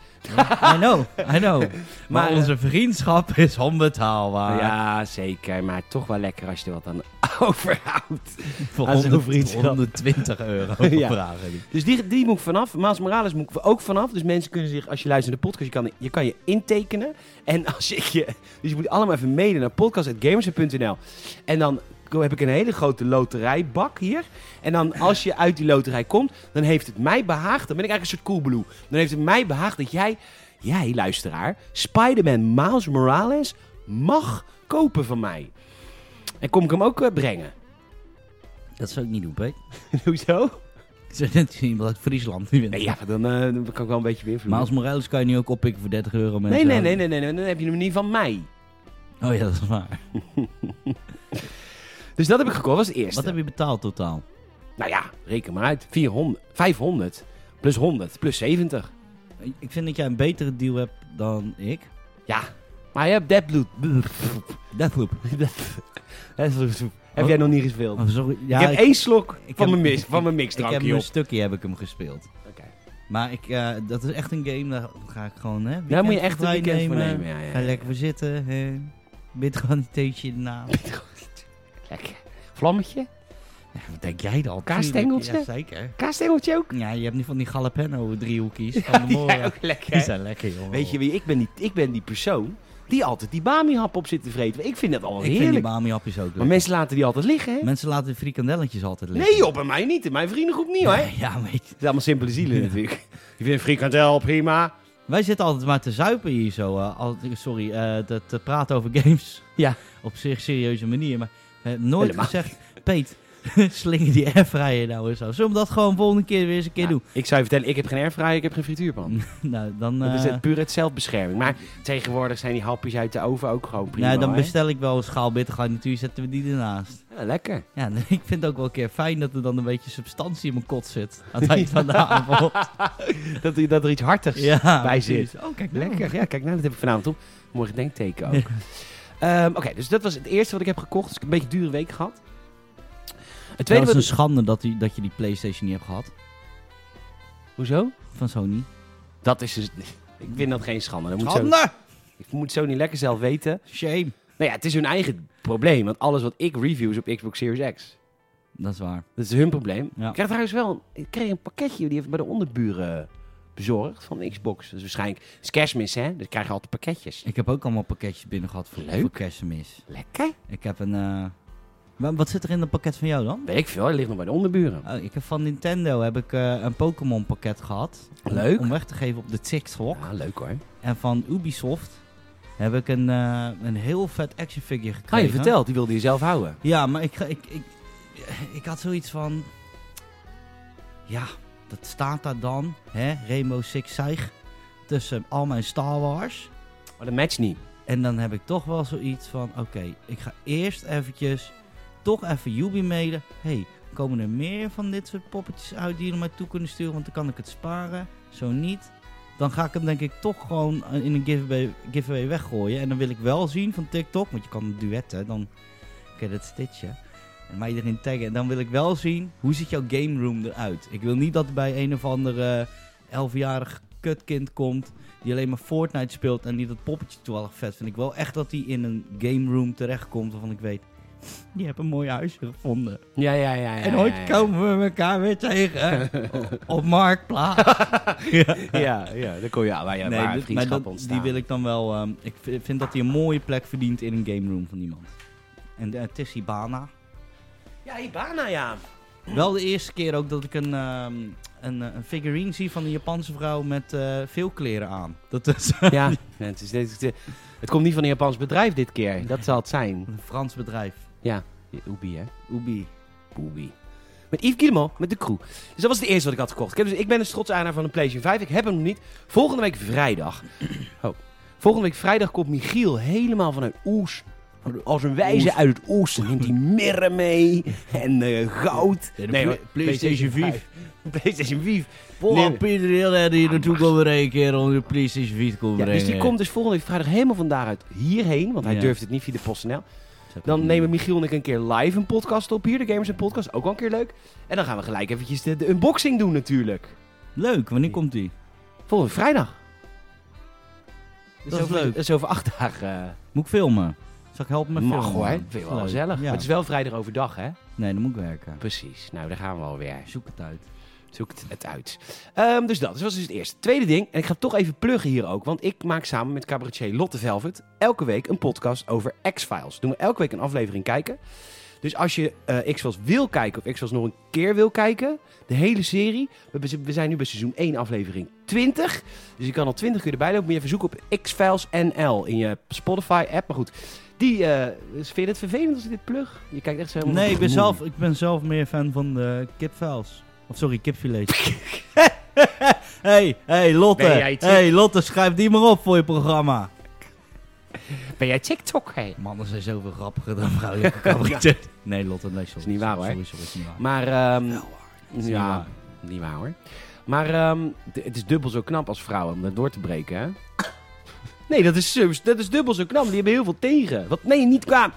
[SPEAKER 1] I know, I know. *laughs* Maar,
[SPEAKER 2] Maar, eh,
[SPEAKER 1] onze vriendschap is
[SPEAKER 2] Ah.
[SPEAKER 1] onbetaalbaar.
[SPEAKER 2] ja, zeker. Maar toch wel lekker als je er wat aan *laughs* overhoudt.
[SPEAKER 1] voor
[SPEAKER 2] aan zo'n
[SPEAKER 1] 100
[SPEAKER 2] vriendschap.
[SPEAKER 1] 120 *laughs* euro
[SPEAKER 2] Ja.
[SPEAKER 1] vragen die.
[SPEAKER 2] Dus die, die moet ik vanaf. Maas Morales moet ik ook vanaf. Dus mensen kunnen zich, als je luistert naar de podcast, je kan je, kan je intekenen. En *laughs* als ik je, dus je moet allemaal even mailen naar podcast.gamers.nl. En dan heb ik een hele grote loterijbak hier. En dan als je uit die loterij komt, dan heeft het mij behaagd. Dan ben ik eigenlijk een soort coolblue. Dan heeft het mij behaagd dat jij, jij luisteraar, Spider-Man Miles Morales mag kopen van mij. En kom ik hem ook eh, brengen. *laughs*
[SPEAKER 1] Dat zou ik niet doen, Peter.
[SPEAKER 2] Hoezo?
[SPEAKER 1] Het is net iemand uit Friesland. Die wint.
[SPEAKER 2] Nee, ja, dan, eh, dan kan ik wel een beetje beïnvloeden.
[SPEAKER 1] Miles Morales kan je nu ook oppikken voor 30 euro. Mensen.
[SPEAKER 2] Nee, nee, nee, nee, nee, nee, dan heb je hem niet van mij.
[SPEAKER 1] Oh ja, dat is waar.
[SPEAKER 2] Dus dat heb ik gekocht, dat was het eerste.
[SPEAKER 1] Wat heb je betaald totaal?
[SPEAKER 2] Nou ja, reken maar uit. 400, 500, plus 100, plus 70.
[SPEAKER 1] Ik vind dat jij een betere deal hebt dan ik.
[SPEAKER 2] Ja, maar je hebt Deadloop.
[SPEAKER 1] *laughs* Deathloop.
[SPEAKER 2] heb jij nog niet gespeeld?
[SPEAKER 1] Oh, sorry. Ja,
[SPEAKER 2] ik heb één slok
[SPEAKER 1] ik
[SPEAKER 2] van,
[SPEAKER 1] heb-
[SPEAKER 2] mijn mix,
[SPEAKER 1] ik-
[SPEAKER 2] van mijn
[SPEAKER 1] ik heb
[SPEAKER 2] mixdrankje
[SPEAKER 1] een
[SPEAKER 2] op.
[SPEAKER 1] stukje heb ik hem gespeeld.
[SPEAKER 2] Oké.
[SPEAKER 1] Maar ik, eh, dat is echt een game, daar ga ik gewoon... Hè,
[SPEAKER 2] Daar moet je
[SPEAKER 1] weekend
[SPEAKER 2] echt een
[SPEAKER 1] vrij
[SPEAKER 2] weekend voor
[SPEAKER 1] nemen.
[SPEAKER 2] nemen. Ja, ja,
[SPEAKER 1] Ga
[SPEAKER 2] ja.
[SPEAKER 1] lekker voor zitten. hè. Bitgraniteetje in de
[SPEAKER 2] *laughs*
[SPEAKER 1] naam.
[SPEAKER 2] Lekker. Vlammetje?
[SPEAKER 1] Ja, wat denk jij dan?
[SPEAKER 2] Kaasstengeltje?
[SPEAKER 1] Tuurlijk, Ja, zeker.
[SPEAKER 2] Kaasstengeltje ook? *laughs*
[SPEAKER 1] Ja, je hebt nu van die jalapeno driehoekjes van de
[SPEAKER 2] Ja,
[SPEAKER 1] moren.
[SPEAKER 2] ook lekker.
[SPEAKER 1] Die
[SPEAKER 2] hè?
[SPEAKER 1] zijn lekker, jongen.
[SPEAKER 2] Weet je wie, ik ben die, ik ben die persoon die altijd die bami-hap op zit te vreten. Ik vind dat allemaal
[SPEAKER 1] Ik vind die
[SPEAKER 2] heerlijk.
[SPEAKER 1] bamiapjes ook
[SPEAKER 2] Maar
[SPEAKER 1] leuk.
[SPEAKER 2] mensen laten die altijd liggen, hè?
[SPEAKER 1] Mensen laten de frikandelletjes altijd liggen.
[SPEAKER 2] Nee joh, bij mij niet. In mijn vriendengroep niet, hoor.
[SPEAKER 1] Nee, Ja, maar ik-
[SPEAKER 2] Het zijn allemaal simpele zielen natuurlijk. Ik vind frikandel prima.
[SPEAKER 1] wij zitten altijd maar te zuipen hier zo. eh, al- sorry, eh, te, te praten over *laughs* games.
[SPEAKER 2] Ja.
[SPEAKER 1] Op zich serieuze manier. Maar we hebben nooit
[SPEAKER 2] Helemaal
[SPEAKER 1] gezegd, Peet, *laughs* slinger die airfryer nou eens zo. Zullen we dat gewoon volgende keer weer eens een keer
[SPEAKER 2] Ja,
[SPEAKER 1] doen?
[SPEAKER 2] Nou, Ik zou je vertellen, ik heb geen airfryer, ik heb geen frituurpan.
[SPEAKER 1] Nou, dan,
[SPEAKER 2] Dat is
[SPEAKER 1] eh,
[SPEAKER 2] het, puur het zelfbescherming. Maar tegenwoordig zijn die hapjes uit de oven ook gewoon prima.
[SPEAKER 1] nou, dan
[SPEAKER 2] hè?
[SPEAKER 1] bestel ik wel een schaal bittergarnituur, zetten we die ernaast.
[SPEAKER 2] Ja, lekker.
[SPEAKER 1] Ja, *laughs* nee, ik vind het ook wel een keer fijn dat er dan een beetje substantie in mijn kot zit. Aan het eind van
[SPEAKER 2] *laughs*
[SPEAKER 1] de avond.
[SPEAKER 2] *laughs* Dat, er- dat er iets hartigs
[SPEAKER 1] Ja,
[SPEAKER 2] bij
[SPEAKER 1] precies.
[SPEAKER 2] zit.
[SPEAKER 1] Oh, kijk, nou.
[SPEAKER 2] Lekker. Ja, kijk, nou, dat heb ik vanavond op. Morgen denkteken ook. Ehm, Oké, dus dat was het eerste wat ik heb gekocht. Dus ik heb een beetje een dure week gehad. Het
[SPEAKER 1] Het
[SPEAKER 2] tweede
[SPEAKER 1] was
[SPEAKER 2] wat...
[SPEAKER 1] een schande dat, die, dat je die Playstation niet hebt gehad.
[SPEAKER 2] Hoezo?
[SPEAKER 1] Van Sony.
[SPEAKER 2] Dat is dus... *laughs* Ik vind dat geen schande. Dat moet zo...
[SPEAKER 1] Schande!
[SPEAKER 2] Ik moet zo niet lekker zelf weten.
[SPEAKER 1] Shame.
[SPEAKER 2] Nou ja, het is hun eigen probleem. Want alles wat ik review is op Xbox Series X.
[SPEAKER 1] Dat is waar.
[SPEAKER 2] Dat is hun probleem.
[SPEAKER 1] Ja.
[SPEAKER 2] Ik kreeg trouwens wel ik kreeg een pakketje. Die heeft bij de onderburen eh, bezorgd van de Xbox. Dus waarschijnlijk... Het is kerstmis, hè? Dus krijg je altijd pakketjes.
[SPEAKER 1] Ik heb ook allemaal pakketjes binnen gehad voor,
[SPEAKER 2] Leuk.
[SPEAKER 1] voor kerstmis.
[SPEAKER 2] Lekker.
[SPEAKER 1] Ik heb een... eh, wa- Wat zit er in dat pakket van jou dan?
[SPEAKER 2] Weet ik veel. Dat ligt nog bij de onderburen.
[SPEAKER 1] Oh, ik heb van Nintendo heb ik, eh, een Pokémon pakket gehad. Om-
[SPEAKER 2] Leuk.
[SPEAKER 1] Om weg te geven op de Sixth Hawk.
[SPEAKER 2] Ja, leuk hoor.
[SPEAKER 1] En van Ubisoft heb ik een, eh, een heel vet action figure gekregen.
[SPEAKER 2] Ga Oh, je verteld. Die wilde je zelf houden.
[SPEAKER 1] Ja, maar ik, ga- ik, ik, ik had zoiets van... Ja, dat staat daar dan. Hè? Rainbow Six Siege. Tussen al mijn Star Wars.
[SPEAKER 2] Maar dat matcht niet.
[SPEAKER 1] En dan heb ik toch wel zoiets van... Oké, ik ga eerst eventjes... Toch even Yubi mailen. hey, komen er meer van dit soort poppetjes uit die jullie mij toe kunnen sturen? Want dan kan ik het sparen. Zo niet. Dan ga ik hem denk ik toch gewoon eh, in een giveaway, giveaway weggooien. En dan wil ik wel zien van TikTok. Want je kan duetten. Dan kun je dat stitchen. En mij erin taggen. En dan wil ik wel zien... Hoe ziet jouw game room eruit? Ik wil niet dat er bij een of andere... 11-jarig kutkind komt die alleen maar Fortnite speelt en die dat poppetje toevallig vet vindt. Ik wil echt dat hij in een game room terechtkomt waarvan ik weet, die hebben een mooi huisje gevonden.
[SPEAKER 2] Ja, ja, ja. ja
[SPEAKER 1] en ooit
[SPEAKER 2] ja, ja.
[SPEAKER 1] komen we elkaar weer
[SPEAKER 2] *laughs*
[SPEAKER 1] tegen op Marktplaats. ja.
[SPEAKER 2] Ja, ja. Dan kon je... Ja, waar, ja,
[SPEAKER 1] Nee,
[SPEAKER 2] waar
[SPEAKER 1] dit- maar
[SPEAKER 2] vriendschap
[SPEAKER 1] dat-
[SPEAKER 2] ontstaan.
[SPEAKER 1] die wil ik dan wel. ehm, ik v- vind dat hij een mooie plek verdient in een game room van iemand. En eh, het is Hibana.
[SPEAKER 2] Ja, Ibana, ja.
[SPEAKER 1] Wel de eerste keer ook dat ik een, ehm, een, eh, een figurine zie van een Japanse vrouw met eh, veel kleren aan. Dat is *laughs*
[SPEAKER 2] Ja, *laughs* het, is, het, is- het komt niet van een Japans bedrijf dit keer. Dat zal het zijn.
[SPEAKER 1] een Frans bedrijf.
[SPEAKER 2] Ja, Ubi, hè?
[SPEAKER 1] Ubi.
[SPEAKER 2] Ubi. Met Yves Guillemot, met de crew. Dus dat was de eerste wat ik had gekocht. Ik, heb dus, ik ben een trots aanhanger van een PlayStation 5. Ik heb hem nog niet. Volgende week
[SPEAKER 1] *clears throat*
[SPEAKER 2] vrijdag. Oh. Volgende week vrijdag komt Michiel helemaal vanuit Oes. Als een wijze
[SPEAKER 1] Oes.
[SPEAKER 2] uit het oosten neemt hij mirren mee en eh, goud.
[SPEAKER 1] Ja, de
[SPEAKER 2] hoor,
[SPEAKER 1] Play- PlayStation 5.
[SPEAKER 2] *laughs* PlayStation 5.
[SPEAKER 1] Paul
[SPEAKER 2] Nee.
[SPEAKER 1] Pieter Heel die hier naartoe komen rekenen om de PlayStation 4 te komen
[SPEAKER 2] Ja,
[SPEAKER 1] brengen.
[SPEAKER 2] dus die komt dus volgende week vrijdag helemaal vandaar uit hierheen. Want hij
[SPEAKER 1] Ja.
[SPEAKER 2] durft het niet via de PostNL.
[SPEAKER 1] Hmm.
[SPEAKER 2] Dan nemen Michiel en ik een keer live een podcast op hier. De Gamers en Podcast, ook wel een keer leuk. En dan gaan we gelijk eventjes de, de unboxing doen natuurlijk.
[SPEAKER 1] Leuk, wanneer komt die?
[SPEAKER 2] Volgende vrijdag.
[SPEAKER 1] Dat is
[SPEAKER 2] over,
[SPEAKER 1] leuk.
[SPEAKER 2] Dat is over acht dagen. eh,
[SPEAKER 1] Moet ik filmen? Zal ik helpen met
[SPEAKER 2] Mag
[SPEAKER 1] filmen?
[SPEAKER 2] hoor.
[SPEAKER 1] man?
[SPEAKER 2] Vind je wel
[SPEAKER 1] Leuk.
[SPEAKER 2] gezellig.
[SPEAKER 1] Ja.
[SPEAKER 2] Maar Het is wel vrijdag overdag hè.
[SPEAKER 1] Nee, dan moet ik werken.
[SPEAKER 2] Precies. Nou, daar gaan we alweer.
[SPEAKER 1] Zoek het uit.
[SPEAKER 2] Zoek het- het uit. Ehm, dus dat. Dus dat was dus het eerste. Tweede ding. En ik ga het toch even pluggen hier ook. Want ik maak samen met cabaretier Lotte Velvet elke week een podcast over X-Files. Doen we elke week een aflevering kijken. Dus als je eh, X-Files wil kijken of X-Files nog een keer wil kijken, de hele serie. We, be- we zijn nu bij seizoen 1 aflevering 20. Dus je kan al 20 uur erbij lopen. Moet je even zoeken op X-Files NL in je Spotify app. Maar goed, die, eh, dus vind je het vervelend als ik dit plug? Je kijkt echt zo helemaal...
[SPEAKER 1] Nee, ik ben, zelf, ik ben zelf meer fan van de kipvels. Of sorry,
[SPEAKER 2] *laughs*
[SPEAKER 1] kipfilets. hey, hey Lotte.
[SPEAKER 2] Ben jij chick?
[SPEAKER 1] Hey Lotte, schrijf die maar op voor je programma.
[SPEAKER 2] Ben jij TikTok, hè?
[SPEAKER 1] Mannen zijn zoveel grappiger dan vrouwelijke *laughs* cabaretier. Nee Lotte, nee, sorry.
[SPEAKER 2] Is niet waar, hoor.
[SPEAKER 1] Sorry, sorry, is niet waar.
[SPEAKER 2] Maar... ehm,
[SPEAKER 1] Is niet
[SPEAKER 2] ja,
[SPEAKER 1] waar.
[SPEAKER 2] niet waar hoor. Maar ehm, d- het is dubbel zo knap als vrouwen om dat door te breken,
[SPEAKER 1] *laughs*
[SPEAKER 2] hè? Nee, dat is, subs- dat is dubbel zo knap. Die hebben heel veel tegen. Wat, nee, niet qua...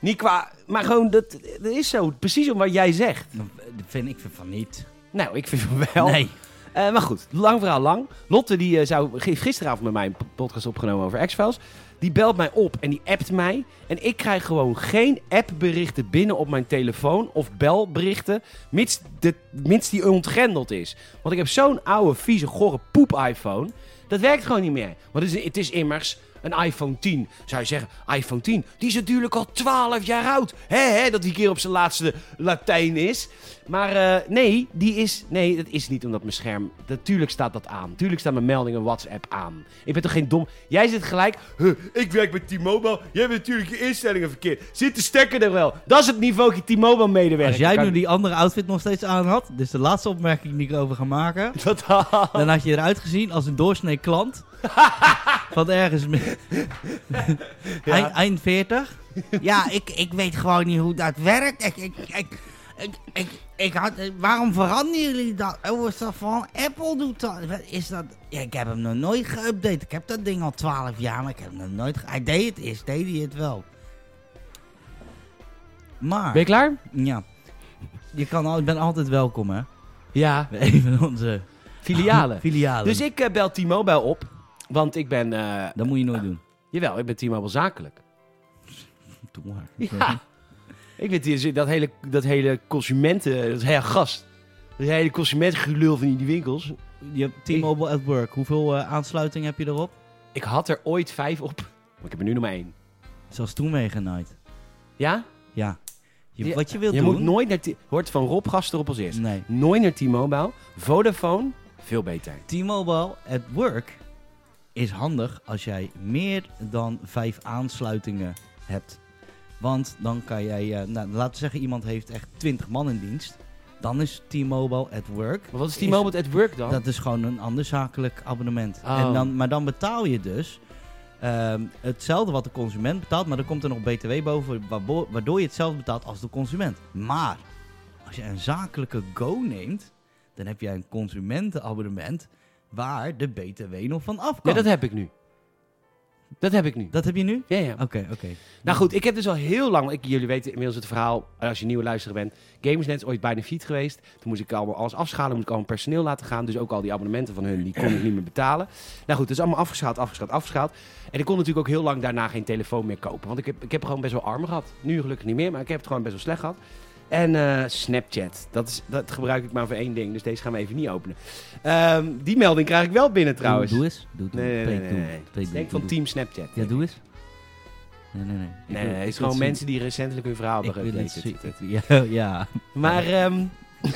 [SPEAKER 2] Niet qua... Maar gewoon, dat, dat is zo. Precies om wat jij zegt.
[SPEAKER 1] Dan- Dat vind ik van niet.
[SPEAKER 2] Nou, ik vind het wel.
[SPEAKER 1] Nee.
[SPEAKER 2] Eh, maar goed, lang verhaal lang. Lotte die, eh, zou, heeft gisteravond met mij een p- podcast opgenomen over X-Files. Die belt mij op en die appt mij. En ik krijg gewoon geen appberichten binnen op mijn telefoon of belberichten, mits, de, mits die ontgrendeld is. Want ik heb zo'n oude, vieze, gore poep-iPhone. Dat werkt gewoon niet meer. Want het is, het is immers een iPhone 10. Zou je zeggen, iPhone 10, die is natuurlijk al 12 jaar oud. Hè, hè, dat die keer op zijn laatste Latijn is. Maar eh, nee, die is, nee, dat is niet omdat mijn scherm... Natuurlijk staat dat aan. Tuurlijk staan mijn meldingen WhatsApp aan. Ik ben toch geen dom... Jij zit gelijk... "Huh, ik werk bij T-Mobile. Jij hebt natuurlijk je instellingen verkeerd. Zit de stekker er wel? Dat is het niveau T-Mobile medewerker.
[SPEAKER 1] Als jij
[SPEAKER 2] kan.
[SPEAKER 1] nu die andere outfit nog steeds aan had, dus de laatste opmerking die ik over ga maken,
[SPEAKER 2] *laughs* Dat had...
[SPEAKER 1] dan had je eruit gezien als een doorsnee *laughs* klant. van ergens *laughs* met- eind, eind 40. Ja, ik, ik weet gewoon niet hoe dat werkt. Ik, ik, ik, ik, ik, ik had, waarom veranderen jullie dat? Oh, is dat van Apple doet dat? Wat Is dat? Ja, ik heb hem nog nooit geüpdate. Ik heb dat ding al 12 jaar, maar ik heb hem nog nooit. ge- Hij deed het eerst, deed hij het wel. Maar.
[SPEAKER 2] Ben je klaar?
[SPEAKER 1] Ja. Je kan al, je bent altijd welkom, hè?
[SPEAKER 2] Ja.
[SPEAKER 1] Even onze
[SPEAKER 2] Filialen.
[SPEAKER 1] filialen.
[SPEAKER 2] Dus ik eh, bel T-Mobile op. Want ik ben... eh,
[SPEAKER 1] Dat moet je nooit doen.
[SPEAKER 2] Jawel, ik ben T-Mobile zakelijk.
[SPEAKER 1] Doe maar.
[SPEAKER 2] Ja. Ik weet hier, dat hele, dat hele consumenten, dat hele gast. Dat hele consumentengelul van die winkels.
[SPEAKER 1] Je hebt T-Mobile at work. Hoeveel eh, aansluiting heb je erop?
[SPEAKER 2] Ik had er ooit vijf op, maar ik heb er nu nog maar één.
[SPEAKER 1] Zelfs toen meegenaaid.
[SPEAKER 2] Ja?
[SPEAKER 1] Ja. Je,
[SPEAKER 2] Ja,
[SPEAKER 1] Wat je wilt
[SPEAKER 2] Je
[SPEAKER 1] doen...
[SPEAKER 2] moet nooit naar... T- Hoort van Rob Gaster op als eerst.
[SPEAKER 1] Nee.
[SPEAKER 2] Nooit naar T-Mobile. Vodafone, veel beter.
[SPEAKER 1] T-Mobile at work is handig als jij meer dan vijf aansluitingen hebt. Want dan kan jij... eh, nou, laten we zeggen, iemand heeft echt twintig man in dienst. Dan is T-Mobile at work...
[SPEAKER 2] Maar wat is T-Mobile at work dan?
[SPEAKER 1] Dat is gewoon een ander zakelijk abonnement.
[SPEAKER 2] Oh.
[SPEAKER 1] En dan, maar dan betaal je dus ehm, hetzelfde wat de consument betaalt, maar dan komt er nog BTW boven, waarbo- waardoor je hetzelfde betaalt als de consument. Maar als je een zakelijke Go neemt, dan heb jij een consumentenabonnement waar de BTW nog van af
[SPEAKER 2] Ja,
[SPEAKER 1] kan.
[SPEAKER 2] dat
[SPEAKER 1] dat...
[SPEAKER 2] heb ik nu. Dat heb ik nu.
[SPEAKER 1] heb je nu?
[SPEAKER 2] Ja, ja.
[SPEAKER 1] Oké, oké.
[SPEAKER 2] Nou goed, ik heb dus al heel lang, ik, jullie weten inmiddels het verhaal, eh, als je nieuwe luisteraar bent, Gamersnet is ooit bijna fiet geweest. Toen moest ik allemaal alles afschalen, moest ik allemaal personeel laten gaan, dus ook al die abonnementen van hun, die kon ik niet meer betalen. Nou goed, het is allemaal afgeschaald, afgeschaald, afgeschaald. En ik kon natuurlijk ook heel lang daarna geen telefoon meer kopen, want ik heb, ik heb gewoon best wel arm gehad. Nu gelukkig niet meer, maar ik heb het gewoon best wel slecht gehad. En eh, Snapchat, dat, is, dat gebruik ik maar voor één ding, dus deze gaan we even niet openen. Ehm, die melding krijg ik wel binnen trouwens.
[SPEAKER 1] Doe, doe eens. Doe, doe.
[SPEAKER 2] Nee, nee, nee,
[SPEAKER 1] Preek,
[SPEAKER 2] nee,
[SPEAKER 1] doe.
[SPEAKER 2] nee.
[SPEAKER 1] Preek,
[SPEAKER 2] Ik
[SPEAKER 1] doe, doe,
[SPEAKER 2] denk van
[SPEAKER 1] doe.
[SPEAKER 2] Team Snapchat.
[SPEAKER 1] Ja, doe eens. Nee, nee, nee. Ik wil-
[SPEAKER 2] Nee, nee,
[SPEAKER 1] ik
[SPEAKER 2] het is
[SPEAKER 1] wil
[SPEAKER 2] gewoon
[SPEAKER 1] zien.
[SPEAKER 2] mensen die recentelijk hun verhaal
[SPEAKER 1] Ik
[SPEAKER 2] hebben
[SPEAKER 1] wil het
[SPEAKER 2] geüpdate.
[SPEAKER 1] zien. *laughs* Ja, ja.
[SPEAKER 2] Maar ehm, *laughs*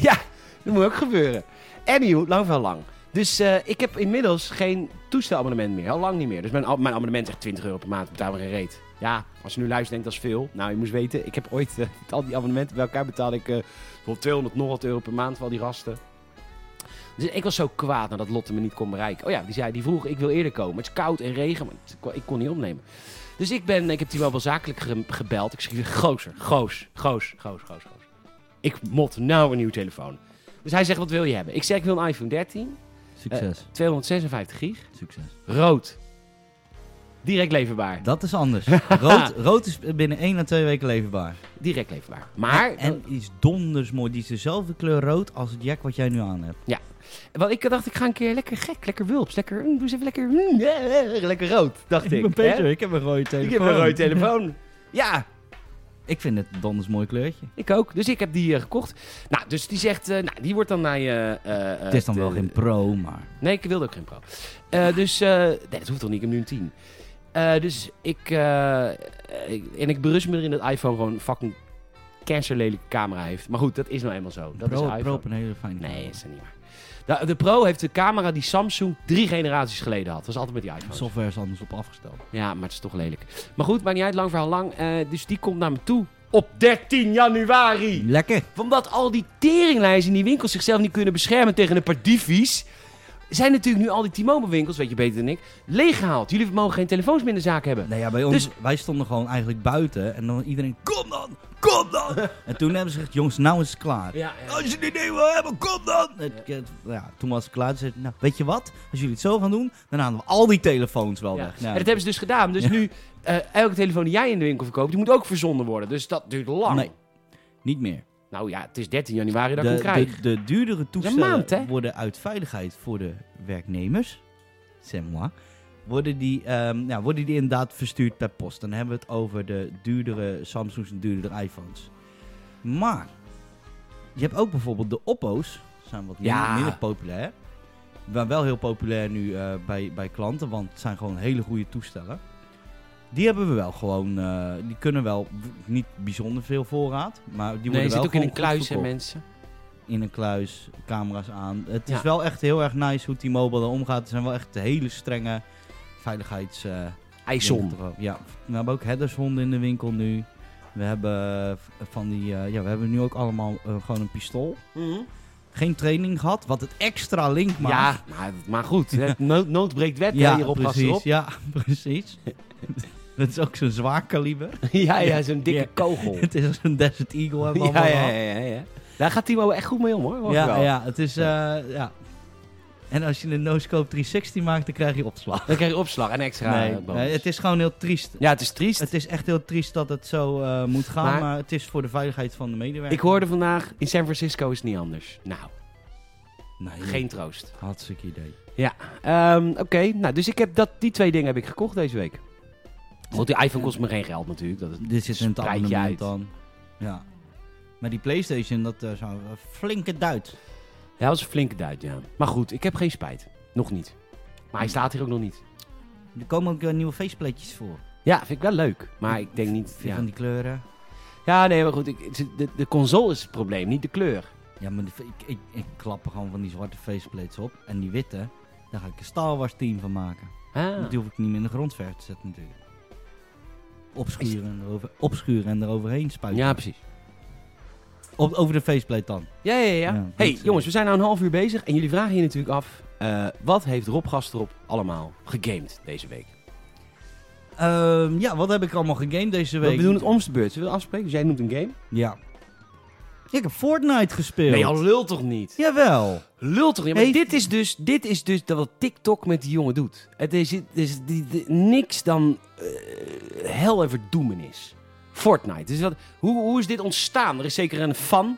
[SPEAKER 2] ja, dat moet ook gebeuren. Anywho, lang van lang. Dus eh, ik heb inmiddels geen toestelabonnement meer. Al lang niet meer. Dus mijn, ab- mijn abonnement is echt 20 euro per maand. Betaal maar geen reet. Ja, als je nu luistert denkt dat is veel. Nou, je moest weten, ik heb ooit eh, met al die abonnementen bij elkaar betaald. Ik eh voor 200 nog wat euro per maand voor al die gasten. Dus ik was zo kwaad nadat Lotte me niet kon bereiken. Oh ja, die zei, die vroeg, ik wil eerder komen. Het is koud en regen, maar het- ik kon- ik kon niet opnemen. Dus ik ben, ik heb die wel wel zakelijk ge- gebeld. Ik schreef, gozer, goos, goos, goos, goos, goos. Ik mot nou een nieuwe telefoon. Dus hij zegt, wat wil je hebben? Ik zeg, ik wil een iPhone 13,
[SPEAKER 1] Succes.
[SPEAKER 2] 256 gig,
[SPEAKER 1] Succes.
[SPEAKER 2] rood. Direct leverbaar.
[SPEAKER 1] Dat is *laughs* anders. Rood, rood is binnen 1 à 2 weken leverbaar.
[SPEAKER 2] Direct leverbaar. Maar,
[SPEAKER 1] En die is donders mooi. Die is dezelfde kleur rood als het jack wat jij nu aan hebt.
[SPEAKER 2] want ik dacht, ik ga een keer lekker gek, lekker wulps, lekker, mm, doe eens even lekker, mm, eh, eh, *laughs* lekker rood, dacht ik. hè?
[SPEAKER 1] ik heb een rode
[SPEAKER 2] Ik heb een rode telefoon. *laughs* Ja,
[SPEAKER 1] Ik vind het een donders mooi kleurtje.
[SPEAKER 2] ik ook. Dus ik heb die eh, gekocht. Nou, dus die zegt, eh, nou, die wordt dan naar je... eh, eh,
[SPEAKER 1] het is dan wel
[SPEAKER 2] de-
[SPEAKER 1] geen pro, maar...
[SPEAKER 2] Nee, ik wilde ook geen pro. Eh, dus, eh, nee, dat hoeft toch niet. Ik heb nu een 10. Eh, dus ik, eh, ik- En ik berust me erin dat iPhone gewoon een fucking cancerlelijke camera heeft. Maar goed, dat is nou eenmaal zo. Dat
[SPEAKER 1] pro,
[SPEAKER 2] is
[SPEAKER 1] pro
[SPEAKER 2] iPhone.
[SPEAKER 1] op een hele fijne
[SPEAKER 2] Nee,
[SPEAKER 1] camera.
[SPEAKER 2] is dat niet waar. De, de Pro heeft de camera die Samsung drie generaties geleden had. Dat was altijd met die iPhone.
[SPEAKER 1] Software is anders op afgesteld.
[SPEAKER 2] Ja, maar het is toch lelijk. Maar goed, maakt niet uit. Lang verhaal lang. Eh, dus die komt naar me toe op 13 januari.
[SPEAKER 1] Lekker.
[SPEAKER 2] Omdat al die teringlijzen in die winkels zichzelf niet kunnen beschermen tegen een paar diefies... zijn natuurlijk nu al die T-Mobile winkels, weet je beter dan ik, leeggehaald. Jullie mogen geen telefoons meer in de zaak hebben.
[SPEAKER 1] Nou ja, bij ons,
[SPEAKER 2] Dus-
[SPEAKER 1] wij stonden gewoon eigenlijk buiten. En dan iedereen, kom dan, kom *laughs* dan. en toen hebben ze gezegd, jongens, nou is het klaar.
[SPEAKER 2] Ja,
[SPEAKER 1] Als je die ding wil hebben, kom dan! Het- het- ja, toen was ik klaar. Toen zei ik, nou, weet je wat? Als jullie het zo gaan doen, dan halen we al die telefoons wel weg.
[SPEAKER 2] En
[SPEAKER 1] Nou,
[SPEAKER 2] dat hebben ze dus gedaan. Dus nu, eh, elke telefoon die jij in de winkel verkoopt, die moet ook verzonden worden. Dus dat duurt lang.
[SPEAKER 1] Nee. niet meer.
[SPEAKER 2] Nou ja, het is 13 januari dat ik
[SPEAKER 1] de,
[SPEAKER 2] hem krijg.
[SPEAKER 1] de, de duurdere
[SPEAKER 2] een
[SPEAKER 1] toestellen
[SPEAKER 2] maand, hè?
[SPEAKER 1] worden uit veiligheid voor de werknemers, c'est moi, Worden die, ehm, ja, worden die inderdaad verstuurd per post. Dan hebben we het over de duurdere Samsung's en duurdere iPhones. Maar je hebt ook bijvoorbeeld de Oppo's. Zijn wat
[SPEAKER 2] Ja.
[SPEAKER 1] minder, minder populair. Maar wel heel populair nu eh, bij, bij klanten. Want het zijn gewoon hele goede toestellen. Die hebben we wel gewoon. eh, die kunnen wel w- niet bijzonder veel voorraad. Maar die worden
[SPEAKER 2] nee, je
[SPEAKER 1] wel
[SPEAKER 2] zit ook in
[SPEAKER 1] gewoon
[SPEAKER 2] een
[SPEAKER 1] goed
[SPEAKER 2] kluis, hè,
[SPEAKER 1] verkocht
[SPEAKER 2] mensen.
[SPEAKER 1] in een kluis, camera's aan. Het
[SPEAKER 2] Ja.
[SPEAKER 1] is wel echt heel erg nice hoe T-Mobile er omgaat. Er zijn wel echt hele strenge veiligheids... eh,
[SPEAKER 2] IJsson.
[SPEAKER 1] dingen erop. ja, we hebben ook headershonden in de winkel nu. We hebben v- van die... eh, ja, we hebben nu ook allemaal eh, gewoon een pistool. Geen training gehad, wat het extra link maakt.
[SPEAKER 2] Ja, maar, maar goed.
[SPEAKER 1] *laughs*
[SPEAKER 2] hè, Nood, nood breekt wet hè, hierop, gast
[SPEAKER 1] precies.
[SPEAKER 2] erop.
[SPEAKER 1] Ja, precies. Dat is ook zo'n zwaar kaliber. *laughs*
[SPEAKER 2] Ja, ja, zo'n dikke
[SPEAKER 1] *laughs* Ja.
[SPEAKER 2] kogel.
[SPEAKER 1] Het is als een Desert Eagle hebben we
[SPEAKER 2] Ja,
[SPEAKER 1] allemaal
[SPEAKER 2] ja,
[SPEAKER 1] gehad.
[SPEAKER 2] ja, ja. Daar gaat Timo echt goed mee om, hoor.
[SPEAKER 1] Ja,
[SPEAKER 2] wel.
[SPEAKER 1] ja, het is... eh, ja. En als je een no-scope 360 maakt, dan krijg je opslag.
[SPEAKER 2] Dan krijg je opslag en extra
[SPEAKER 1] Nee,
[SPEAKER 2] eh, bonus.
[SPEAKER 1] nee, het is gewoon heel triest.
[SPEAKER 2] Ja, het is triest.
[SPEAKER 1] Het is echt heel triest dat het zo eh, moet gaan,
[SPEAKER 2] Maar-
[SPEAKER 1] maar, het is voor de veiligheid van de medewerker.
[SPEAKER 2] Ik hoorde vandaag, in San Francisco is het niet anders. Nou,
[SPEAKER 1] Nee,
[SPEAKER 2] geen troost.
[SPEAKER 1] hartstikke idee.
[SPEAKER 2] Ehm, Oké, nou, dus ik heb dat, die twee dingen heb ik gekocht deze week. Want die iPhone kost me geen geld natuurlijk. Dat is,
[SPEAKER 1] Dit zit in het
[SPEAKER 2] Spreid je uit.
[SPEAKER 1] abonnement dan. Ja. Maar die PlayStation, dat eh, zou een flinke duit.
[SPEAKER 2] ja, dat is een flinke duit, ja. Maar goed, ik heb geen spijt. Nog niet. Maar hij staat hier ook nog niet.
[SPEAKER 1] Er komen ook eh, nieuwe faceplatejes voor.
[SPEAKER 2] Ja, vind ik wel leuk. Maar ik denk niet...
[SPEAKER 1] Vind je
[SPEAKER 2] Ja,
[SPEAKER 1] Van die kleuren.
[SPEAKER 2] ja nee, maar goed. Ik, de, de console is het probleem, niet de kleur.
[SPEAKER 1] Ja, maar die fa- ik, ik, ik klap er gewoon van die zwarte faceplates op. En die witte, daar ga ik een Star Wars team van maken.
[SPEAKER 2] Ah.
[SPEAKER 1] Die hoef ik niet meer in de grond ver te zetten natuurlijk. Opschuren, en erover, opschuren en eroverheen spuiten.
[SPEAKER 2] Ja, precies.
[SPEAKER 1] Op, over de faceplate dan.
[SPEAKER 2] Ja, ja, ja.
[SPEAKER 1] Ja,
[SPEAKER 2] hey,
[SPEAKER 1] dat, eh,
[SPEAKER 2] jongens, we zijn nou een half uur bezig. En jullie vragen je natuurlijk af... eh, wat heeft Rob Gastrop allemaal gegamed deze week?
[SPEAKER 1] Ehm, ja, wat heb ik allemaal gegamed deze week?
[SPEAKER 2] We doen het omste beurt. Zullen we afspreken? Dus jij noemt een game?
[SPEAKER 1] Ja. Ik heb Fortnite gespeeld.
[SPEAKER 2] Nee, al lul toch niet?
[SPEAKER 1] Jawel.
[SPEAKER 2] Lul toch niet? Maar
[SPEAKER 1] Heeft-
[SPEAKER 2] dit is dus, dit is dus dat wat TikTok met die jongen doet. Het is, het is die, die- niks dan eh, hel en verdoemenis. Fortnite. Dus wat, hoe, hoe is dit ontstaan? Er is zeker een fan.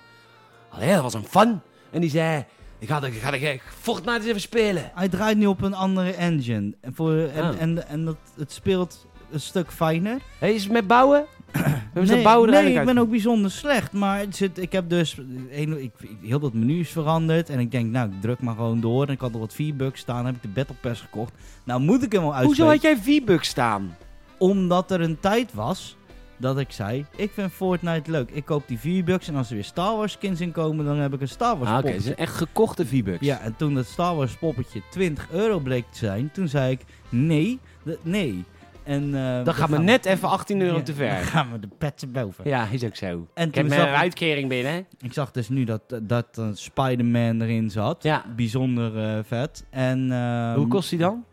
[SPEAKER 2] Allee, dat was een fan. En die zei, ik ga, de- ik ga, de- ik ga Fortnite eens even spelen.
[SPEAKER 1] Hij draait nu op een andere engine. En, voor, en,
[SPEAKER 2] Ah.
[SPEAKER 1] en, en dat, het speelt een stuk fijner.
[SPEAKER 2] Hey, is het met
[SPEAKER 1] *clears throat*
[SPEAKER 2] bouwen? We hebben ze bouwen er
[SPEAKER 1] nee ik
[SPEAKER 2] eigenlijk
[SPEAKER 1] ben
[SPEAKER 2] uit-
[SPEAKER 1] ook bijzonder slecht. Maar het zit, ik heb dus... Een, ik, ik- heel dat menu is veranderd. En ik denk, nou, ik druk maar gewoon door. En ik had nog wat V-bucks staan. heb ik de Battle Pass gekocht. Nou, moet ik hem al
[SPEAKER 2] Hoezo
[SPEAKER 1] uitspelen.
[SPEAKER 2] had jij V-Bucks staan?
[SPEAKER 1] Omdat er een tijd was dat ik zei, ik vind Fortnite leuk. Ik koop die V-Bucks en als er weer Star Wars skins in komen, dan heb ik een Star Wars
[SPEAKER 2] Ah, Oké, het
[SPEAKER 1] poppetje.
[SPEAKER 2] zijn echt gekochte V-Bucks.
[SPEAKER 1] Ja, en toen dat Star Wars poppetje 20 euro bleek te zijn, toen zei ik, nee, d- nee. En, eh,
[SPEAKER 2] Dan gaan we
[SPEAKER 1] gaan
[SPEAKER 2] net even 18 euro
[SPEAKER 1] Ja, dus
[SPEAKER 2] te
[SPEAKER 1] Dan
[SPEAKER 2] ver.
[SPEAKER 1] gaan we de petten boven.
[SPEAKER 2] Ja, is ook zo.
[SPEAKER 1] En
[SPEAKER 2] Ik heb
[SPEAKER 1] toen
[SPEAKER 2] mijn
[SPEAKER 1] zag ik,
[SPEAKER 2] uitkering binnen. hè?
[SPEAKER 1] ik zag dus nu dat, dat eh, Spider-Man erin zat.
[SPEAKER 2] Ja.
[SPEAKER 1] Bijzonder eh, vet. En, ehm,
[SPEAKER 2] Hoe kost die dan?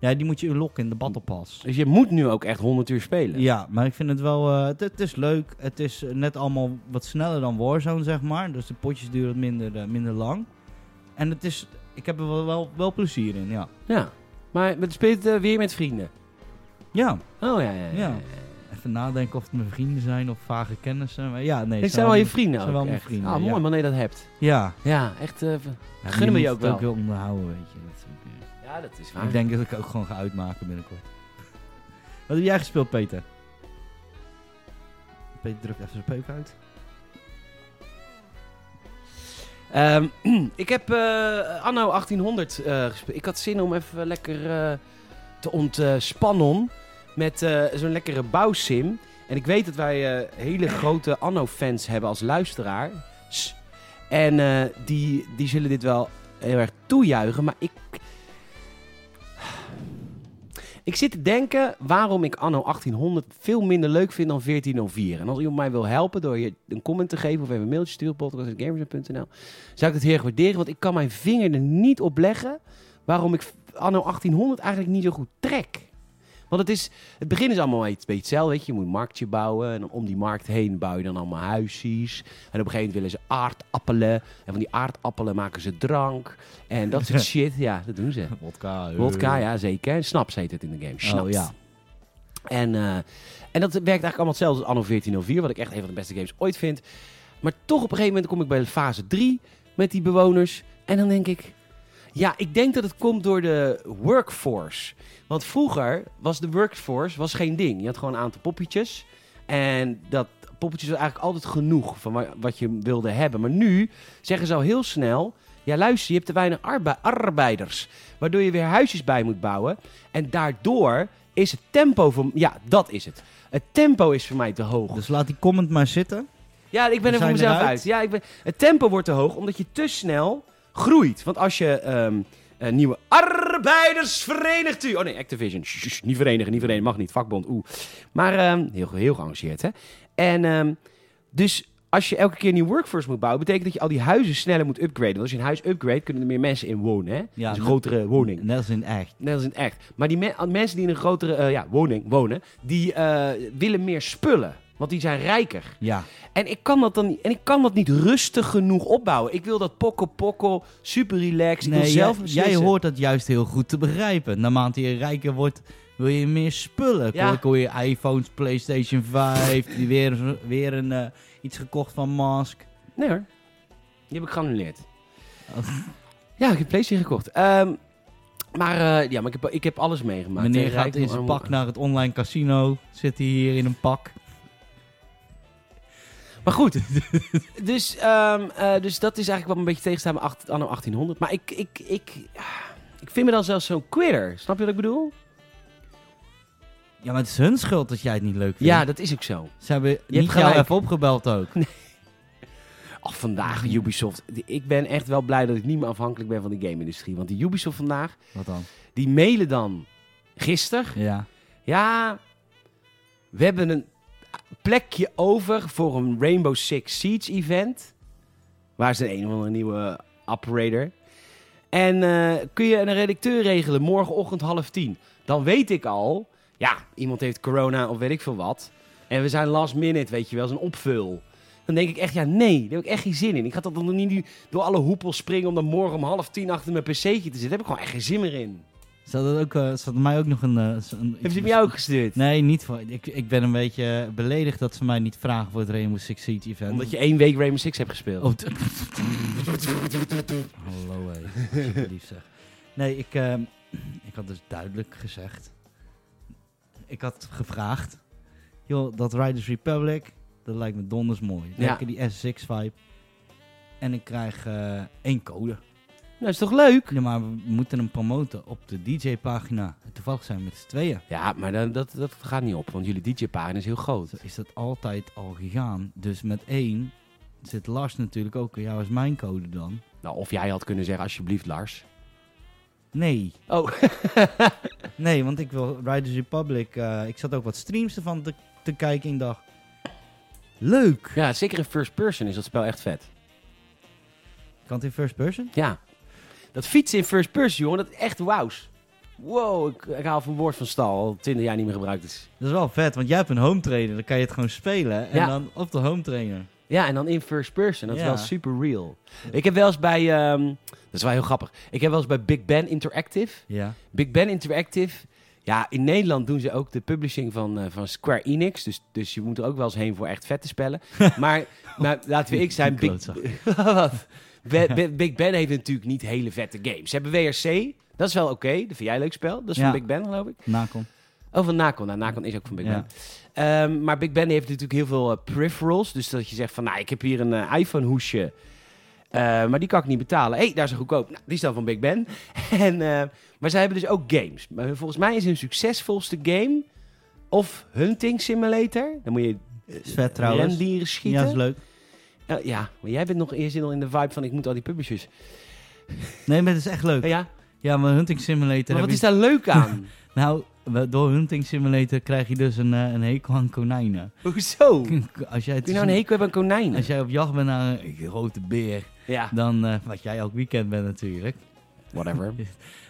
[SPEAKER 1] Ja, die moet je unlocken in de Battle Pass.
[SPEAKER 2] Dus je moet nu ook echt 100 uur spelen.
[SPEAKER 1] Ja, maar ik vind het wel... eh, het, het is leuk. Het is eh, net allemaal wat sneller dan Warzone, zeg maar. Dus de potjes duren wat minder, eh, minder lang. En het is... Ik heb er wel, wel, wel plezier in, ja.
[SPEAKER 2] Ja. Maar het speelt eh, weer met vrienden.
[SPEAKER 1] Ja,
[SPEAKER 2] Oh ja, ja. ja,
[SPEAKER 1] Ja. even nadenken of het mijn vrienden zijn of vage kennissen. Maar ja, nee.
[SPEAKER 2] Ik
[SPEAKER 1] het
[SPEAKER 2] zijn wel je
[SPEAKER 1] mijn-
[SPEAKER 2] vrienden ook.
[SPEAKER 1] zijn wel mijn
[SPEAKER 2] echt.
[SPEAKER 1] vrienden,
[SPEAKER 2] ah, mooi
[SPEAKER 1] ja.
[SPEAKER 2] man dat je dat hebt.
[SPEAKER 1] Ja.
[SPEAKER 2] Ja, echt. eh,
[SPEAKER 1] ja
[SPEAKER 2] Gunnen we je ook Ah.
[SPEAKER 1] moet het ook wel onderhouden, weet je. Dat is ook, eh,
[SPEAKER 2] ja, dat is
[SPEAKER 1] Ik denk dat ik ook gewoon ga uitmaken binnenkort. *laughs* Wat heb jij gespeeld, Peter? Peter drukt even zijn peuk uit.
[SPEAKER 2] Ehm, *clears throat* ik heb eh, anno 1800 eh, gespeeld. Ik had zin om even lekker eh, te ontspannen met eh, zo'n lekkere bouwsim. En ik weet dat wij eh, hele grote anno-fans hebben als luisteraars. En eh, die, die zullen dit wel heel erg toejuichen. Maar ik... Ik zit te denken waarom ik anno 1800 veel minder leuk vind dan 1404. En als iemand mij wil helpen door hier een comment te geven of even een mailtje te sturen op podcast.gamers.nl zou ik het heel erg waarderen. Want ik kan mijn vinger er niet op leggen waarom ik anno 1800 eigenlijk niet zo goed trek. Want het, is, het begin is allemaal een beetje hetzelfde. Weet je. je moet een marktje bouwen. En dan om die markt heen bouw je dan allemaal huisjes. En op een gegeven moment willen ze aardappelen. En van die aardappelen maken ze drank. En
[SPEAKER 1] *laughs*
[SPEAKER 2] dat soort shit. Ja, dat doen ze.
[SPEAKER 1] Wodka.
[SPEAKER 2] Wodka, eh. ja zeker. Snaps heet het in de game. Snaps.
[SPEAKER 1] Oh, ja.
[SPEAKER 2] En, eh, en dat werkt eigenlijk allemaal hetzelfde als Anno 1404, wat ik echt een van de beste games ooit vind. Maar toch op een gegeven moment kom ik bij fase 3 met die bewoners. En dan denk ik, Ja, ik denk dat het komt door de workforce. Want vroeger was de workforce was geen ding. Je had gewoon een aantal poppetjes. En dat poppetjes was eigenlijk altijd genoeg van wa- wat je wilde hebben. Maar nu zeggen ze al heel snel... Ja, luister, je hebt te weinig arbe- arbeiders. Waardoor je weer huisjes bij moet bouwen. En daardoor is het tempo van... Ja, dat is het. Het tempo is voor mij te hoog.
[SPEAKER 1] Dus laat die comment maar zitten.
[SPEAKER 2] Ja, ik ben
[SPEAKER 1] We
[SPEAKER 2] er voor
[SPEAKER 1] zijn
[SPEAKER 2] mezelf
[SPEAKER 1] eruit.
[SPEAKER 2] uit. Ja, ik ben, het tempo wordt te hoog omdat je te snel groeit. Want als je ehm, eh, nieuwe arbeiders verenigt u. Oh nee, Activision. Ssh, ssh, niet verenigen, niet verenigen. Mag niet. Vakbond. Oeh. Maar ehm, heel, heel geëngageerd, hè? En ehm, dus als je elke keer een nieuwe workforce moet bouwen, betekent dat je al die huizen sneller moet upgraden. Want als je een huis upgrade, kunnen er meer mensen in wonen, hè?
[SPEAKER 1] Ja,
[SPEAKER 2] dus een
[SPEAKER 1] net-
[SPEAKER 2] grotere woning.
[SPEAKER 1] Net als in echt.
[SPEAKER 2] Net als in het echt. Maar die me- mensen die in een grotere eh, ja, woning wonen, die eh, willen meer spullen. Want die zijn rijker.
[SPEAKER 1] Ja.
[SPEAKER 2] En ik kan dat dan niet, en ik kan dat niet rustig genoeg opbouwen. Ik wil dat pokkel pokkel, super relaxed. Ik wil
[SPEAKER 1] Nee,
[SPEAKER 2] zelf
[SPEAKER 1] jij,
[SPEAKER 2] beslissen.
[SPEAKER 1] jij hoort dat juist heel goed te begrijpen. Naarmate je rijker wordt, wil je meer spullen.
[SPEAKER 2] Ja.
[SPEAKER 1] Dan hoor je iPhones, PlayStation 5, die weer, weer een, eh, iets gekocht van Mask.
[SPEAKER 2] Nee hoor. Die heb ik geannuleerd.
[SPEAKER 1] Oh.
[SPEAKER 2] Ja, ik heb PlayStation gekocht. Ehm, maar eh, ja, maar ik heb, ik heb alles meegemaakt.
[SPEAKER 1] Meneer
[SPEAKER 2] Tegen
[SPEAKER 1] gaat
[SPEAKER 2] rijk
[SPEAKER 1] in
[SPEAKER 2] tot
[SPEAKER 1] zijn
[SPEAKER 2] arm.
[SPEAKER 1] pak naar het online casino. Zit hij hier in een pak.
[SPEAKER 2] Maar goed. *laughs* dus, ehm, eh, dus dat is eigenlijk wat me een beetje tegenstaat met acht- anno 1800. Maar ik, ik, ik, ik vind me dan zelfs zo'n quitter. Snap je wat ik bedoel?
[SPEAKER 1] Ja, maar het is hun schuld dat jij het niet leuk vindt.
[SPEAKER 2] Ja, dat is ook zo.
[SPEAKER 1] Ze hebben
[SPEAKER 2] hebt
[SPEAKER 1] niet jou
[SPEAKER 2] gelijk.
[SPEAKER 1] even opgebeld ook.
[SPEAKER 2] Ach, vandaag Ubisoft. Ik ben echt wel blij dat ik niet meer afhankelijk ben van de game-industrie. Want die Ubisoft vandaag,
[SPEAKER 1] Wat dan?
[SPEAKER 2] die mailen dan gisteren.
[SPEAKER 1] Ja.
[SPEAKER 2] Ja, we hebben een plekje over voor een Rainbow Six Siege event. Waar is de een of andere nieuwe operator? En eh, kun je een redacteur regelen morgenochtend half tien? Dan weet ik al, ja, iemand heeft corona of weet ik veel wat. En we zijn last minute, weet je wel, zo'n opvul. Dan denk ik echt, ja, nee, daar heb ik echt geen zin in. Ik ga dat dan niet nu door alle hoepels springen om dan morgen om half tien achter mijn pc'tje te zitten. Daar heb ik gewoon echt geen zin meer in.
[SPEAKER 1] Zat dat ook, eh, zat mij ook nog een... eh, z- een
[SPEAKER 2] Heb je het bij jou ook gestuurd?
[SPEAKER 1] Nee, niet voor... Ik, ik ben een beetje beledigd dat ze mij niet vragen voor het Rainbow Six Siege event.
[SPEAKER 2] Omdat je één week Rainbow Six hebt gespeeld.
[SPEAKER 1] Oh, t- Hallo, hé. Alsjeblieft, zeg. Nee, ik, ehm, ik had dus duidelijk gezegd. Ik had gevraagd. Joh, dat Riders Republic, dat lijkt me donders mooi.
[SPEAKER 2] Ja.
[SPEAKER 1] Lekker die S6-vibe. En ik krijg eh, één code.
[SPEAKER 2] Nou, is toch leuk?
[SPEAKER 1] Ja, maar we moeten hem promoten op de DJ-pagina. En Toevallig zijn we met z'n tweeën.
[SPEAKER 2] Ja, maar dan, dat, dat gaat niet op, want jullie DJ-pagina is heel groot.
[SPEAKER 1] Zo is dat altijd al gegaan. Dus met één zit Lars natuurlijk ook. Ja, was mijn code dan?
[SPEAKER 2] Nou, of jij had kunnen zeggen, alsjeblieft, Lars.
[SPEAKER 1] Nee.
[SPEAKER 2] Oh, *laughs*
[SPEAKER 1] Nee, want ik wil Riders Republic. eh, ik zat ook wat streams ervan te, te kijken. Ik dacht, leuk.
[SPEAKER 2] ja, zeker in first person is dat spel echt vet.
[SPEAKER 1] Kan het in first person?
[SPEAKER 2] Ja. Dat fietsen in first person, jongen, dat is echt wows. Wow, ik, ik haal van woord van stal, al 20 jaar niet meer gebruikt Dus, is.
[SPEAKER 1] Dat is wel vet, want jij hebt een home trainer. Dan kan je het gewoon spelen. En
[SPEAKER 2] Ja.
[SPEAKER 1] dan op de home trainer.
[SPEAKER 2] Ja, en dan in first person, dat is
[SPEAKER 1] Ja.
[SPEAKER 2] wel super real. Ik heb wel eens bij, ehm, dat is wel heel grappig, ik heb wel eens bij Big Ben Interactive.
[SPEAKER 1] Ja.
[SPEAKER 2] Big Ben Interactive. Ja, in Nederland doen ze ook de publishing van, eh, van Square Enix. Dus, dus je moet er ook wel eens heen voor echt vette spellen. maar, maar laten we ik zijn.
[SPEAKER 1] Die
[SPEAKER 2] Big, *laughs* Wat? Be- Be- Big Ben heeft natuurlijk niet hele vette games. Ze hebben WRC. Dat is wel oké. Dat vind jij een leuk spel. Dat is
[SPEAKER 1] Ja.
[SPEAKER 2] van Big Ben, geloof ik.
[SPEAKER 1] Nakom.
[SPEAKER 2] Oh, van Nacon. Nou, Nacon is ook van Big
[SPEAKER 1] Ja.
[SPEAKER 2] Ben. Ehm, maar Big Ben heeft natuurlijk heel veel eh, peripherals. Dus dat je zegt van, nou, ik heb hier een eh, iPhone-hoesje. Eh, maar die kan ik niet betalen. Hé, hey, daar is een goedkoop. Nou, die is dan van Big Ben. *laughs* en, eh, maar zij hebben dus ook games. Maar volgens mij is hun succesvolste game... of Hunting Simulator. Dan moet je
[SPEAKER 1] Is vet trouwens.
[SPEAKER 2] rendieren
[SPEAKER 1] Ja,
[SPEAKER 2] eh, schieten.
[SPEAKER 1] is leal leuk.
[SPEAKER 2] Eh, ja, maar jij bent nog eerst al in de vibe van... ik moet al die publishers.
[SPEAKER 1] Nee, maar het is echt
[SPEAKER 2] Eh,
[SPEAKER 1] leuk.
[SPEAKER 2] ja,
[SPEAKER 1] Ja, maar Hunting Simulator...
[SPEAKER 2] maar
[SPEAKER 1] heb
[SPEAKER 2] wat is
[SPEAKER 1] je-
[SPEAKER 2] daar leuk aan?
[SPEAKER 1] Nou, we- door Hunting Simulator krijg je dus een, eh, een hekel aan konijnen. *laughs*
[SPEAKER 2] *laughs* Hoezo? Kun
[SPEAKER 1] Als jij, het
[SPEAKER 2] je nou een hekel hebben aan konijnen?
[SPEAKER 1] als jij op jacht bent naar een grote beer,
[SPEAKER 2] Ja,
[SPEAKER 1] dan, eh, wat jij elk weekend bent natuurlijk...
[SPEAKER 2] whatever.
[SPEAKER 1] *laughs*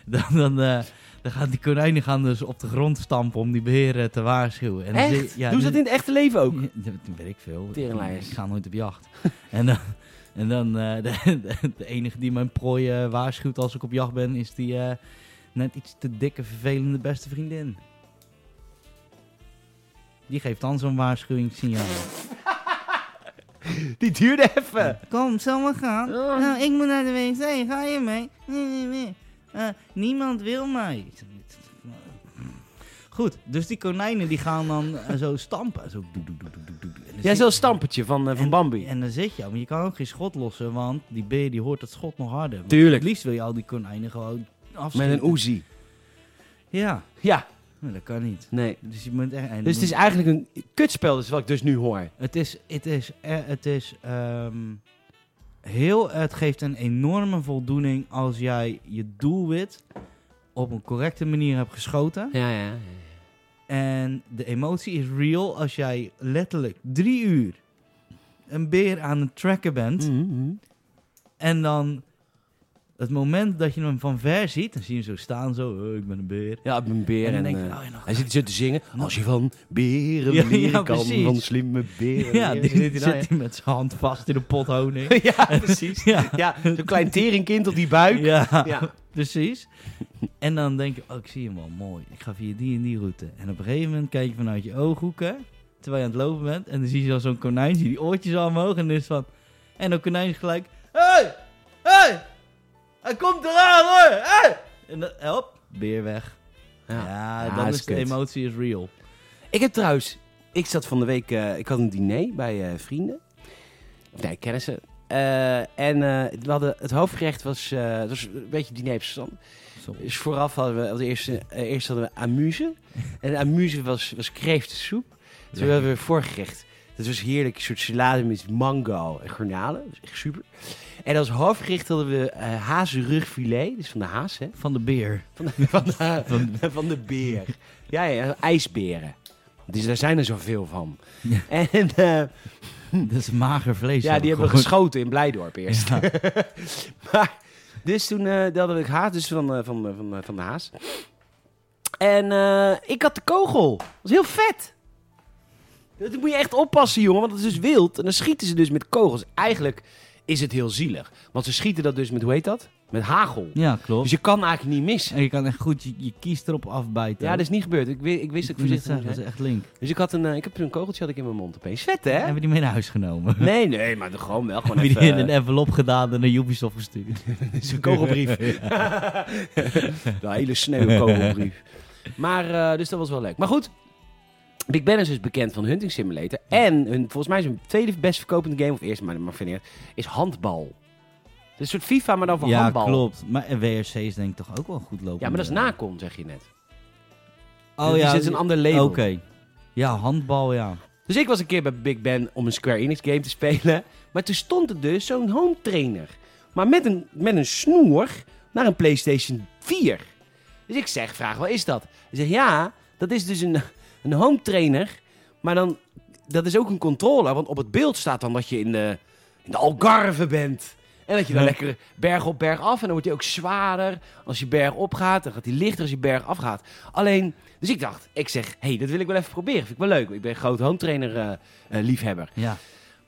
[SPEAKER 1] Dan, dan, eh, dan gaan die konijnen gaan dus op de grond stampen om die beheren te waarschuwen. En dan
[SPEAKER 2] Echt?
[SPEAKER 1] zie- ja,
[SPEAKER 2] Doen
[SPEAKER 1] dus-
[SPEAKER 2] ze dat in het echte leven ook?
[SPEAKER 1] Ja, dat weet ik veel. Ik,
[SPEAKER 2] Teringleiers.
[SPEAKER 1] ik ga nooit op jacht. *laughs* en dan, en dan eh, *laughs* de, de, de enige die mijn prooi eh, waarschuwt als ik op jacht ben, is die eh, net iets te dikke, vervelende beste vriendin. Die geeft dan zo'n waarschuwingssignaal.
[SPEAKER 2] Die duurde even.
[SPEAKER 1] *laughs* Kom, zal maar gaan.
[SPEAKER 2] Oh.
[SPEAKER 1] Nou, ik moet naar de wc. Ga je mee? Nee, nee, nee. Eh, niemand wil mij. Ik zeg, "Dit- Goed, dus die konijnen die gaan dan eh, zo stampen. Zo doe, doe, doe, doe, doe, doe. En dan
[SPEAKER 2] Jij
[SPEAKER 1] zit-
[SPEAKER 2] zo'n stampertje van, eh, van
[SPEAKER 1] en-
[SPEAKER 2] Bambi.
[SPEAKER 1] En dan zit je, maar je kan ook geen schot lossen, want die beer die hoort dat schot nog harder. Want
[SPEAKER 2] Tuurlijk.
[SPEAKER 1] Het liefst wil je al die konijnen gewoon
[SPEAKER 2] Met
[SPEAKER 1] afschieten.
[SPEAKER 2] een oezie.
[SPEAKER 1] Ja,
[SPEAKER 2] Ja,
[SPEAKER 1] maar dat kan niet.
[SPEAKER 2] nee.
[SPEAKER 1] Dus, je moet echt, en
[SPEAKER 2] Dus het is eigenlijk een kutspel, dus wat ik dus nu hoor.
[SPEAKER 1] Het is, het is, eh, het is ehm, heel, het geeft een enorme voldoening als jij je doelwit op een correcte manier hebt geschoten.
[SPEAKER 2] Ja, ja. ja.
[SPEAKER 1] En de emotie is real als jij letterlijk drie uur een beer aan het tracken bent.
[SPEAKER 2] Mm. Mhm.
[SPEAKER 1] En dan het moment dat je hem van ver ziet, dan zie je hem zo staan, zo, "Oh, ik ben een beer.
[SPEAKER 2] Ja, ik ben een beer.
[SPEAKER 1] En
[SPEAKER 2] En,
[SPEAKER 1] dan denk je,
[SPEAKER 2] eh,
[SPEAKER 1] oh ja, nog.
[SPEAKER 2] *laughs* hij zit zo te zingen. Als je van beren
[SPEAKER 1] Ja,
[SPEAKER 2] leren
[SPEAKER 1] ja,
[SPEAKER 2] kan,
[SPEAKER 1] precies.
[SPEAKER 2] van slimme beren.
[SPEAKER 1] Ja, *laughs*
[SPEAKER 2] leren.
[SPEAKER 1] die
[SPEAKER 2] Zit *laughs* hij
[SPEAKER 1] zit
[SPEAKER 2] nou,
[SPEAKER 1] hij met zijn hand vast in een pot honing.
[SPEAKER 2] ja. ja, *laughs* precies.
[SPEAKER 1] ja,
[SPEAKER 2] Ja, zo'n klein teringkind op die buik.
[SPEAKER 1] ja.
[SPEAKER 2] Ja.
[SPEAKER 1] *laughs* Precies. En dan denk je, oh, ik zie hem wel mooi. Ik ga via die en die route. En op een gegeven moment kijk je vanuit je ooghoeken, terwijl je aan het lopen bent. En dan zie je al zo'n konijn, zie je die oortjes al omhoog. En dan is het van, en dat konijn is gelijk, hey, hey, hij komt eraan hoor, hey. En dan, help, beer weg. Ja,
[SPEAKER 2] Ja,
[SPEAKER 1] dan
[SPEAKER 2] is
[SPEAKER 1] is, de
[SPEAKER 2] kut.
[SPEAKER 1] emotie is real.
[SPEAKER 2] Ik heb trouwens, ik zat van de week, eh, ik had een diner bij eh, vrienden. Of nee, kennissen. Eh, en eh, we hadden, het hoofdgerecht was, eh, het was een beetje diner op stand. Dus vooraf hadden we, als eerste, eh, eerst hadden we amuse. En amuse was, was kreeftensoep. Toen
[SPEAKER 1] Ja.
[SPEAKER 2] hadden we voorgerecht. Dat was heerlijk, een soort salade met mango en garnalen. Dat was echt super. En als hoofdgerecht hadden we eh hazenrugfilet, dus van de haas, hè?
[SPEAKER 1] Van de beer.
[SPEAKER 2] Van de, van de, *laughs* van de beer. Ja, ja, ijsberen. Dus daar zijn er zoveel van.
[SPEAKER 1] Ja.
[SPEAKER 2] En eh,
[SPEAKER 1] Dat is mager vlees.
[SPEAKER 2] ja, die hebben we
[SPEAKER 1] Gewoon-
[SPEAKER 2] geschoten in Blijdorp eerst.
[SPEAKER 1] Ja.
[SPEAKER 2] *laughs* maar, dus toen eh dat hadden we haas, dus van, eh, van, eh, van, eh, van de haas. En eh, ik had de kogel. Dat was heel vet. Dat moet je echt oppassen, jongen, want het is dus wild. En dan schieten ze dus met kogels. Eigenlijk is het heel zielig. Want ze schieten dat dus met, hoe heet dat? Met hagel.
[SPEAKER 1] Ja, klopt.
[SPEAKER 2] Dus je kan eigenlijk niet missen.
[SPEAKER 1] En je kan echt goed je, je kies erop afbijten.
[SPEAKER 2] Ja, dat is niet gebeurd. Ik, wi- ik wist dat ik
[SPEAKER 1] Ik wou net
[SPEAKER 2] voorzichtig
[SPEAKER 1] zeggen,
[SPEAKER 2] moest
[SPEAKER 1] dat
[SPEAKER 2] zijn.
[SPEAKER 1] is echt link.
[SPEAKER 2] Dus ik had een, eh, ik heb toen een kogeltje had ik in mijn mond opeens. Vet, hè?
[SPEAKER 1] Hebben we die mee naar huis genomen?
[SPEAKER 2] Nee, nee, maar dan
[SPEAKER 1] *laughs*
[SPEAKER 2] gewoon wel. Gewoon
[SPEAKER 1] Heb je
[SPEAKER 2] even,
[SPEAKER 1] die in een envelop gedaan en naar Ubisoft gestuurd?
[SPEAKER 2] eh, zo'n kogelbrief. *laughs* de eh, hele sneeuw kogelbrief. Maar, eh, dus dat was wel leuk. Maar goed, Big Ben is dus bekend van Hunting Simulator. En hun, volgens mij zijn tweede best verkopende game, of eerste, maar, maar vind ik, is handbal. Het is een soort FIFA, maar dan van
[SPEAKER 1] ja,
[SPEAKER 2] handbal.
[SPEAKER 1] klopt. Maar en WRC is denk ik toch ook wel goed lopen.
[SPEAKER 2] Ja, maar dat is nakom, zeg je net.
[SPEAKER 1] Oh
[SPEAKER 2] Dus
[SPEAKER 1] ja,
[SPEAKER 2] Er zit een ander label.
[SPEAKER 1] Oké. Ja, handbal, ja.
[SPEAKER 2] Dus ik was een keer bij Big Ben om een Square Enix game te spelen. Maar toen stond er dus zo'n home trainer. Maar met een, met een snoer naar een PlayStation 4. Dus ik zeg, vraag, wat is dat? Hij zegt, ja, dat is dus een, een home trainer. Maar dan, dat is ook een controller. Want op het beeld staat dan dat je in de, in de Algarve bent. En dat je dan
[SPEAKER 1] Ja.
[SPEAKER 2] lekker berg op berg af. En dan wordt hij ook zwaarder als je berg op gaat. Dan gaat hij lichter als je berg af gaat. Alleen, dus ik dacht, ik zeg, hé, hey, dat wil ik wel even proberen. Vind ik wel leuk. Ik ben een groot home trainer eh, eh, liefhebber.
[SPEAKER 1] Ja.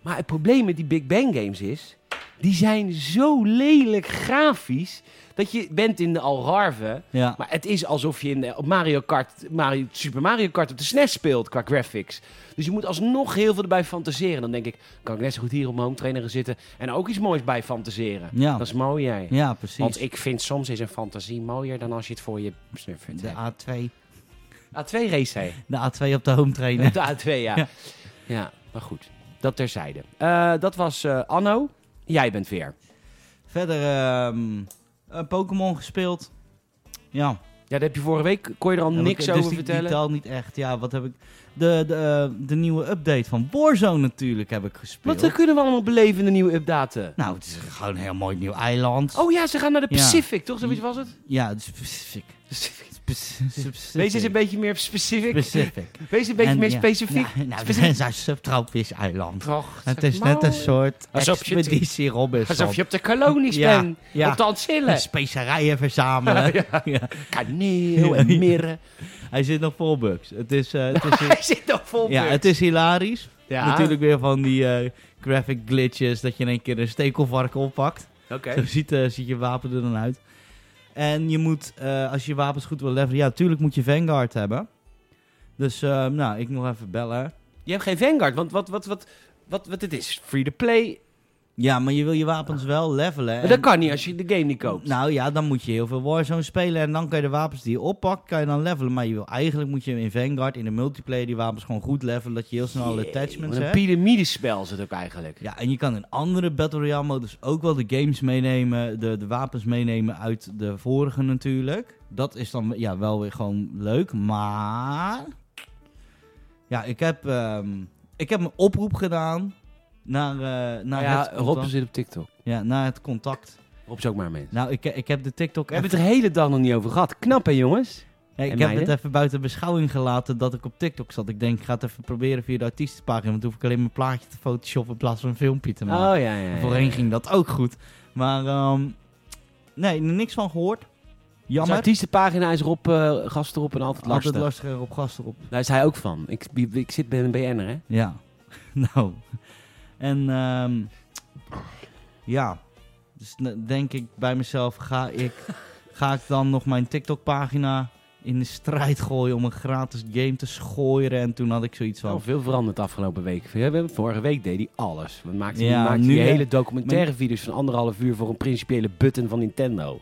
[SPEAKER 2] Maar het probleem met die Big Bang games is, die zijn zo lelijk grafisch. Dat je bent in de Algarve.
[SPEAKER 1] ja.
[SPEAKER 2] Maar het is alsof je in eh, op Mario Kart, Mario, Super Mario Kart op de SNES speelt qua graphics. Dus je moet alsnog heel veel erbij fantaseren. Dan denk ik, kan ik net zo goed hier op mijn home trainer gaan zitten en er ook iets moois bij fantaseren.
[SPEAKER 1] Ja.
[SPEAKER 2] Dat is mooi jij.
[SPEAKER 1] ja, precies.
[SPEAKER 2] Want ik vind soms is een fantasie mooier dan als je het voor je snuffert.
[SPEAKER 1] De A2.
[SPEAKER 2] A2 race hij.
[SPEAKER 1] De A2 op de home trainer.
[SPEAKER 2] De A2, ja. ja.
[SPEAKER 1] *laughs* Ja.
[SPEAKER 2] maar goed. Dat terzijde. Eh, dat was eh, Anno. Jij bent weer.
[SPEAKER 1] Verder, ehm, eh, Pokémon gespeeld. Ja.
[SPEAKER 2] Ja, dat heb je vorige week. Kon je er al
[SPEAKER 1] Ja,
[SPEAKER 2] niks
[SPEAKER 1] want-
[SPEAKER 2] over
[SPEAKER 1] dus die-
[SPEAKER 2] vertellen?
[SPEAKER 1] Die taal niet echt. Ja, wat heb ik... De, de, eh, de nieuwe update van Warzone natuurlijk heb ik gespeeld.
[SPEAKER 2] Wat eh, kunnen we allemaal beleven in de nieuwe updaten?
[SPEAKER 1] Nou, het is gewoon een heel mooi nieuw eiland.
[SPEAKER 2] Oh ja, ze gaan naar de
[SPEAKER 1] Ja.
[SPEAKER 2] Pacific, toch? Zoiets was het?
[SPEAKER 1] Ja, het is Pacific. Pacific.
[SPEAKER 2] Wees eens een beetje meer specific.
[SPEAKER 1] Pacific.
[SPEAKER 2] Wees een beetje
[SPEAKER 1] En,
[SPEAKER 2] meer
[SPEAKER 1] ja,
[SPEAKER 2] specifiek.
[SPEAKER 1] Nou, nou we
[SPEAKER 2] Specifiek.
[SPEAKER 1] zijn zo'n subtropisch eiland.
[SPEAKER 2] Prachtig.
[SPEAKER 1] Het is net een
[SPEAKER 2] mooi.
[SPEAKER 1] soort
[SPEAKER 2] Alsof je-
[SPEAKER 1] expeditie Robinson.
[SPEAKER 2] Alsof je op de kolonies
[SPEAKER 1] Ja,
[SPEAKER 2] bent.
[SPEAKER 1] ja.
[SPEAKER 2] Op de Antillen.
[SPEAKER 1] Specerijen
[SPEAKER 2] *laughs*
[SPEAKER 1] verzamelen. Ja.
[SPEAKER 2] Kaneel en mirren.
[SPEAKER 1] Hij zit nog vol bugs. Het is, eh, het is,
[SPEAKER 2] *laughs* Hij zit nog vol
[SPEAKER 1] ja,
[SPEAKER 2] bugs.
[SPEAKER 1] het is hilarisch.
[SPEAKER 2] Ja.
[SPEAKER 1] Natuurlijk weer van die eh, graphic glitches. Dat je in één keer een stekelvarken oppakt.
[SPEAKER 2] Oké.
[SPEAKER 1] Zo ziet, eh, ziet je wapen er dan uit. En je moet, eh, als je je wapens goed wil leveren... Ja, natuurlijk moet je Vanguard hebben. Dus, eh, nou, ik nog even bellen.
[SPEAKER 2] Je hebt geen Vanguard, want wat, wat, wat, Wat, wat het is free to play.
[SPEAKER 1] Ja, maar je wil je wapens wel levelen.
[SPEAKER 2] Maar
[SPEAKER 1] en-
[SPEAKER 2] dat kan niet als je de game niet koopt.
[SPEAKER 1] Nou ja, dan moet je heel veel Warzone spelen. En dan kan je de wapens die je oppakt, kan je dan levelen. Maar je wil, eigenlijk moet je in Vanguard, in de multiplayer, die wapens gewoon goed levelen. Dat je heel snel alle
[SPEAKER 2] Jee,
[SPEAKER 1] attachments
[SPEAKER 2] wat Een
[SPEAKER 1] hebt.
[SPEAKER 2] piramidespel is het ook eigenlijk.
[SPEAKER 1] Ja, en je kan in andere Battle Royale modus ook wel de games meenemen, de, de wapens meenemen uit de vorige natuurlijk. Dat is dan ja, wel weer gewoon leuk, maar... Ja, ik heb, ehm, ik heb een oproep gedaan naar, eh, naar,
[SPEAKER 2] Nou ja,
[SPEAKER 1] het,
[SPEAKER 2] Rob
[SPEAKER 1] contact,
[SPEAKER 2] zit op TikTok.
[SPEAKER 1] ja, naar het contact.
[SPEAKER 2] Rob is ook maar een mens.
[SPEAKER 1] Nou, ik, ik heb de Tiktok
[SPEAKER 2] We hebben het er de hele dag nog niet over gehad. Knap hè jongens?
[SPEAKER 1] Ja, ik
[SPEAKER 2] En
[SPEAKER 1] heb
[SPEAKER 2] meiden?
[SPEAKER 1] het even buiten beschouwing gelaten dat ik op TikTok zat. Ik denk, ik ga het even proberen via de artiestenpagina. Want dan hoef ik alleen mijn plaatje te photoshoppen in plaats van een filmpje te
[SPEAKER 2] Oh
[SPEAKER 1] maken.
[SPEAKER 2] ja, ja. ja.
[SPEAKER 1] Voorheen ging dat ook goed. Maar ehm, nee, er niks van gehoord.
[SPEAKER 2] Zijn
[SPEAKER 1] Jammer.
[SPEAKER 2] artiestenpagina is Rob, eh gast erop en altijd lastig.
[SPEAKER 1] Altijd lastiger op gasten op.
[SPEAKER 2] Daar is hij ook van. Ik, ik zit bij een BN'er hè?
[SPEAKER 1] Ja. *laughs* nou. En ehm, ja. Dus ne- denk ik bij mezelf, ga ik,
[SPEAKER 2] *laughs*
[SPEAKER 1] ga ik dan nog mijn TikTok pagina in de strijd gooien om een gratis game te schooien? En toen had ik zoiets van...
[SPEAKER 2] Wel veel veranderd de afgelopen week. We hebben- Vorige week deed hij alles. We maakten,
[SPEAKER 1] Ja,
[SPEAKER 2] we maakten
[SPEAKER 1] nu,
[SPEAKER 2] die
[SPEAKER 1] hè?
[SPEAKER 2] hele documentaire video's van anderhalf uur voor een principiële button van Nintendo.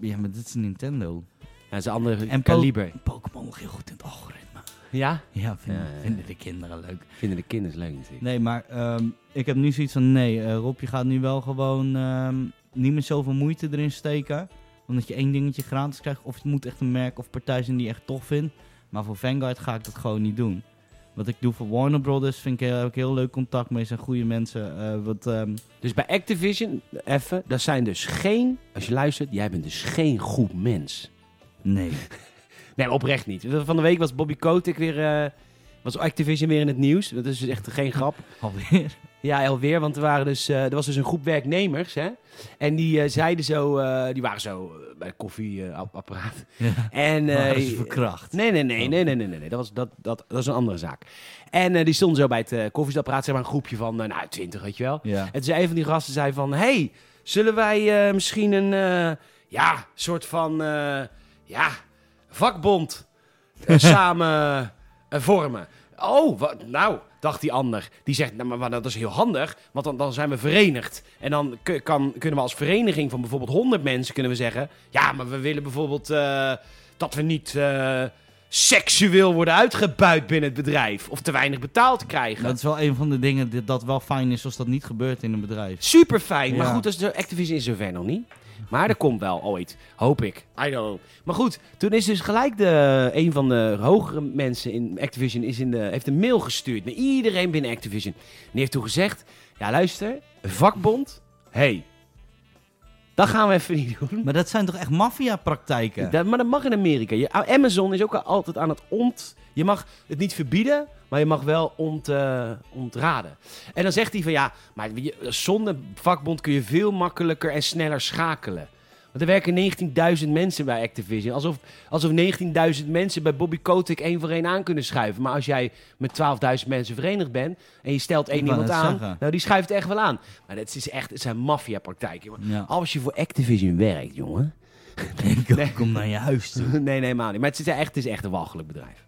[SPEAKER 1] Ja, maar dit is Nintendo.
[SPEAKER 2] Ja, zijn andere
[SPEAKER 1] En
[SPEAKER 2] kaliber.
[SPEAKER 1] Pokémon nog heel goed in het algoritme.
[SPEAKER 2] Ja?
[SPEAKER 1] Ja, vinden,
[SPEAKER 2] Ja, ja, ja.
[SPEAKER 1] vinden de kinderen leuk.
[SPEAKER 2] Vinden de kinderen leuk natuurlijk.
[SPEAKER 1] Nee, maar ehm, ik heb nu zoiets van... Nee, eh, Rob, je gaat nu wel gewoon ehm, niet meer zoveel moeite erin steken. Omdat je één dingetje gratis krijgt. Of het moet echt een merk of partij zijn die je echt tof vindt. Maar voor Vanguard ga ik dat gewoon niet doen. Wat ik doe voor Warner Brothers vind ik, heel- heb ik heel leuk contact mee. Zijn goede mensen. eh, wat, ehm,
[SPEAKER 2] Dus bij Activision, even, dat zijn dus geen, als je luistert, jij bent dus geen goed mens.
[SPEAKER 1] nee. *laughs*
[SPEAKER 2] Nee, maar oprecht niet. Van de week was Bobby Kotick weer, eh, was Activision weer in het nieuws. Dat is dus echt geen grap.
[SPEAKER 1] Alweer.
[SPEAKER 2] Ja, alweer, want er, waren dus, eh, er was dus een groep werknemers. Hè? En die eh, zeiden zo, eh, die waren zo eh, bij het koffieapparaat.
[SPEAKER 1] Ja, *laughs*
[SPEAKER 2] en
[SPEAKER 1] maar dat is
[SPEAKER 2] eh,
[SPEAKER 1] verkracht.
[SPEAKER 2] Nee, nee, nee, nee, nee, nee, nee, nee. Dat, was, dat, dat, dat is een andere zaak. En eh, die stonden zo bij het eh, koffieapparaat, zeg maar een groepje van, eh, nou, twintig, weet je wel.
[SPEAKER 1] Ja.
[SPEAKER 2] En toen zei een van die gasten zei van... hey, zullen wij eh, misschien een eh, ja, soort van eh, ja, vakbond
[SPEAKER 1] *laughs*
[SPEAKER 2] eh, samen eh, vormen? Oh, wat, nou, dacht die ander. Die zegt, nou, maar, maar dat is heel handig, want dan, dan zijn we verenigd. En dan ku- kan, kunnen we als vereniging van bijvoorbeeld 100 mensen kunnen we zeggen... ja, maar we willen bijvoorbeeld eh, dat we niet... eh, seksueel worden uitgebuit binnen het bedrijf. Of te weinig betaald krijgen.
[SPEAKER 1] Dat is wel een van de dingen die- dat wel fijn is als dat niet gebeurt in een bedrijf.
[SPEAKER 2] Super fijn. Maar
[SPEAKER 1] Ja.
[SPEAKER 2] goed, dat is de Activision is zover nog niet. Maar er komt wel ooit. Hoop ik. I don't know. Maar goed, toen is dus gelijk de, een van de hogere mensen in Activision is in de, heeft een mail gestuurd naar iedereen binnen Activision. En die heeft toen gezegd: Ja, luister, vakbond, hey, dat gaan we even niet doen.
[SPEAKER 1] Maar dat zijn toch echt maffiapraktijken?
[SPEAKER 2] Dat, maar dat mag in Amerika. Je, ah, Amazon is ook altijd aan het ont... Je mag het niet verbieden, maar je mag wel ont, eh, ontraden. En dan zegt hij van ja, maar je- zonder vakbond kun je veel makkelijker en sneller schakelen. Want er werken 19.000 mensen bij Activision. Alsof, alsof 19.000 mensen bij Bobby Kotick één voor één aan kunnen schuiven. Maar als jij met 12.000 mensen verenigd bent en je stelt één
[SPEAKER 1] Ik wou
[SPEAKER 2] iemand
[SPEAKER 1] net
[SPEAKER 2] aan,
[SPEAKER 1] zeggen.
[SPEAKER 2] nou die schuift echt wel aan. Maar dat is echt, het zijn maffiapraktijken. jongen.
[SPEAKER 1] Ja.
[SPEAKER 2] Als je voor Activision werkt, jongen.
[SPEAKER 1] Ik ook, kom naar je huis toe.
[SPEAKER 2] *laughs* nee, nee, helemaal niet. Maar het is echt, het is echt een walgelijk bedrijf.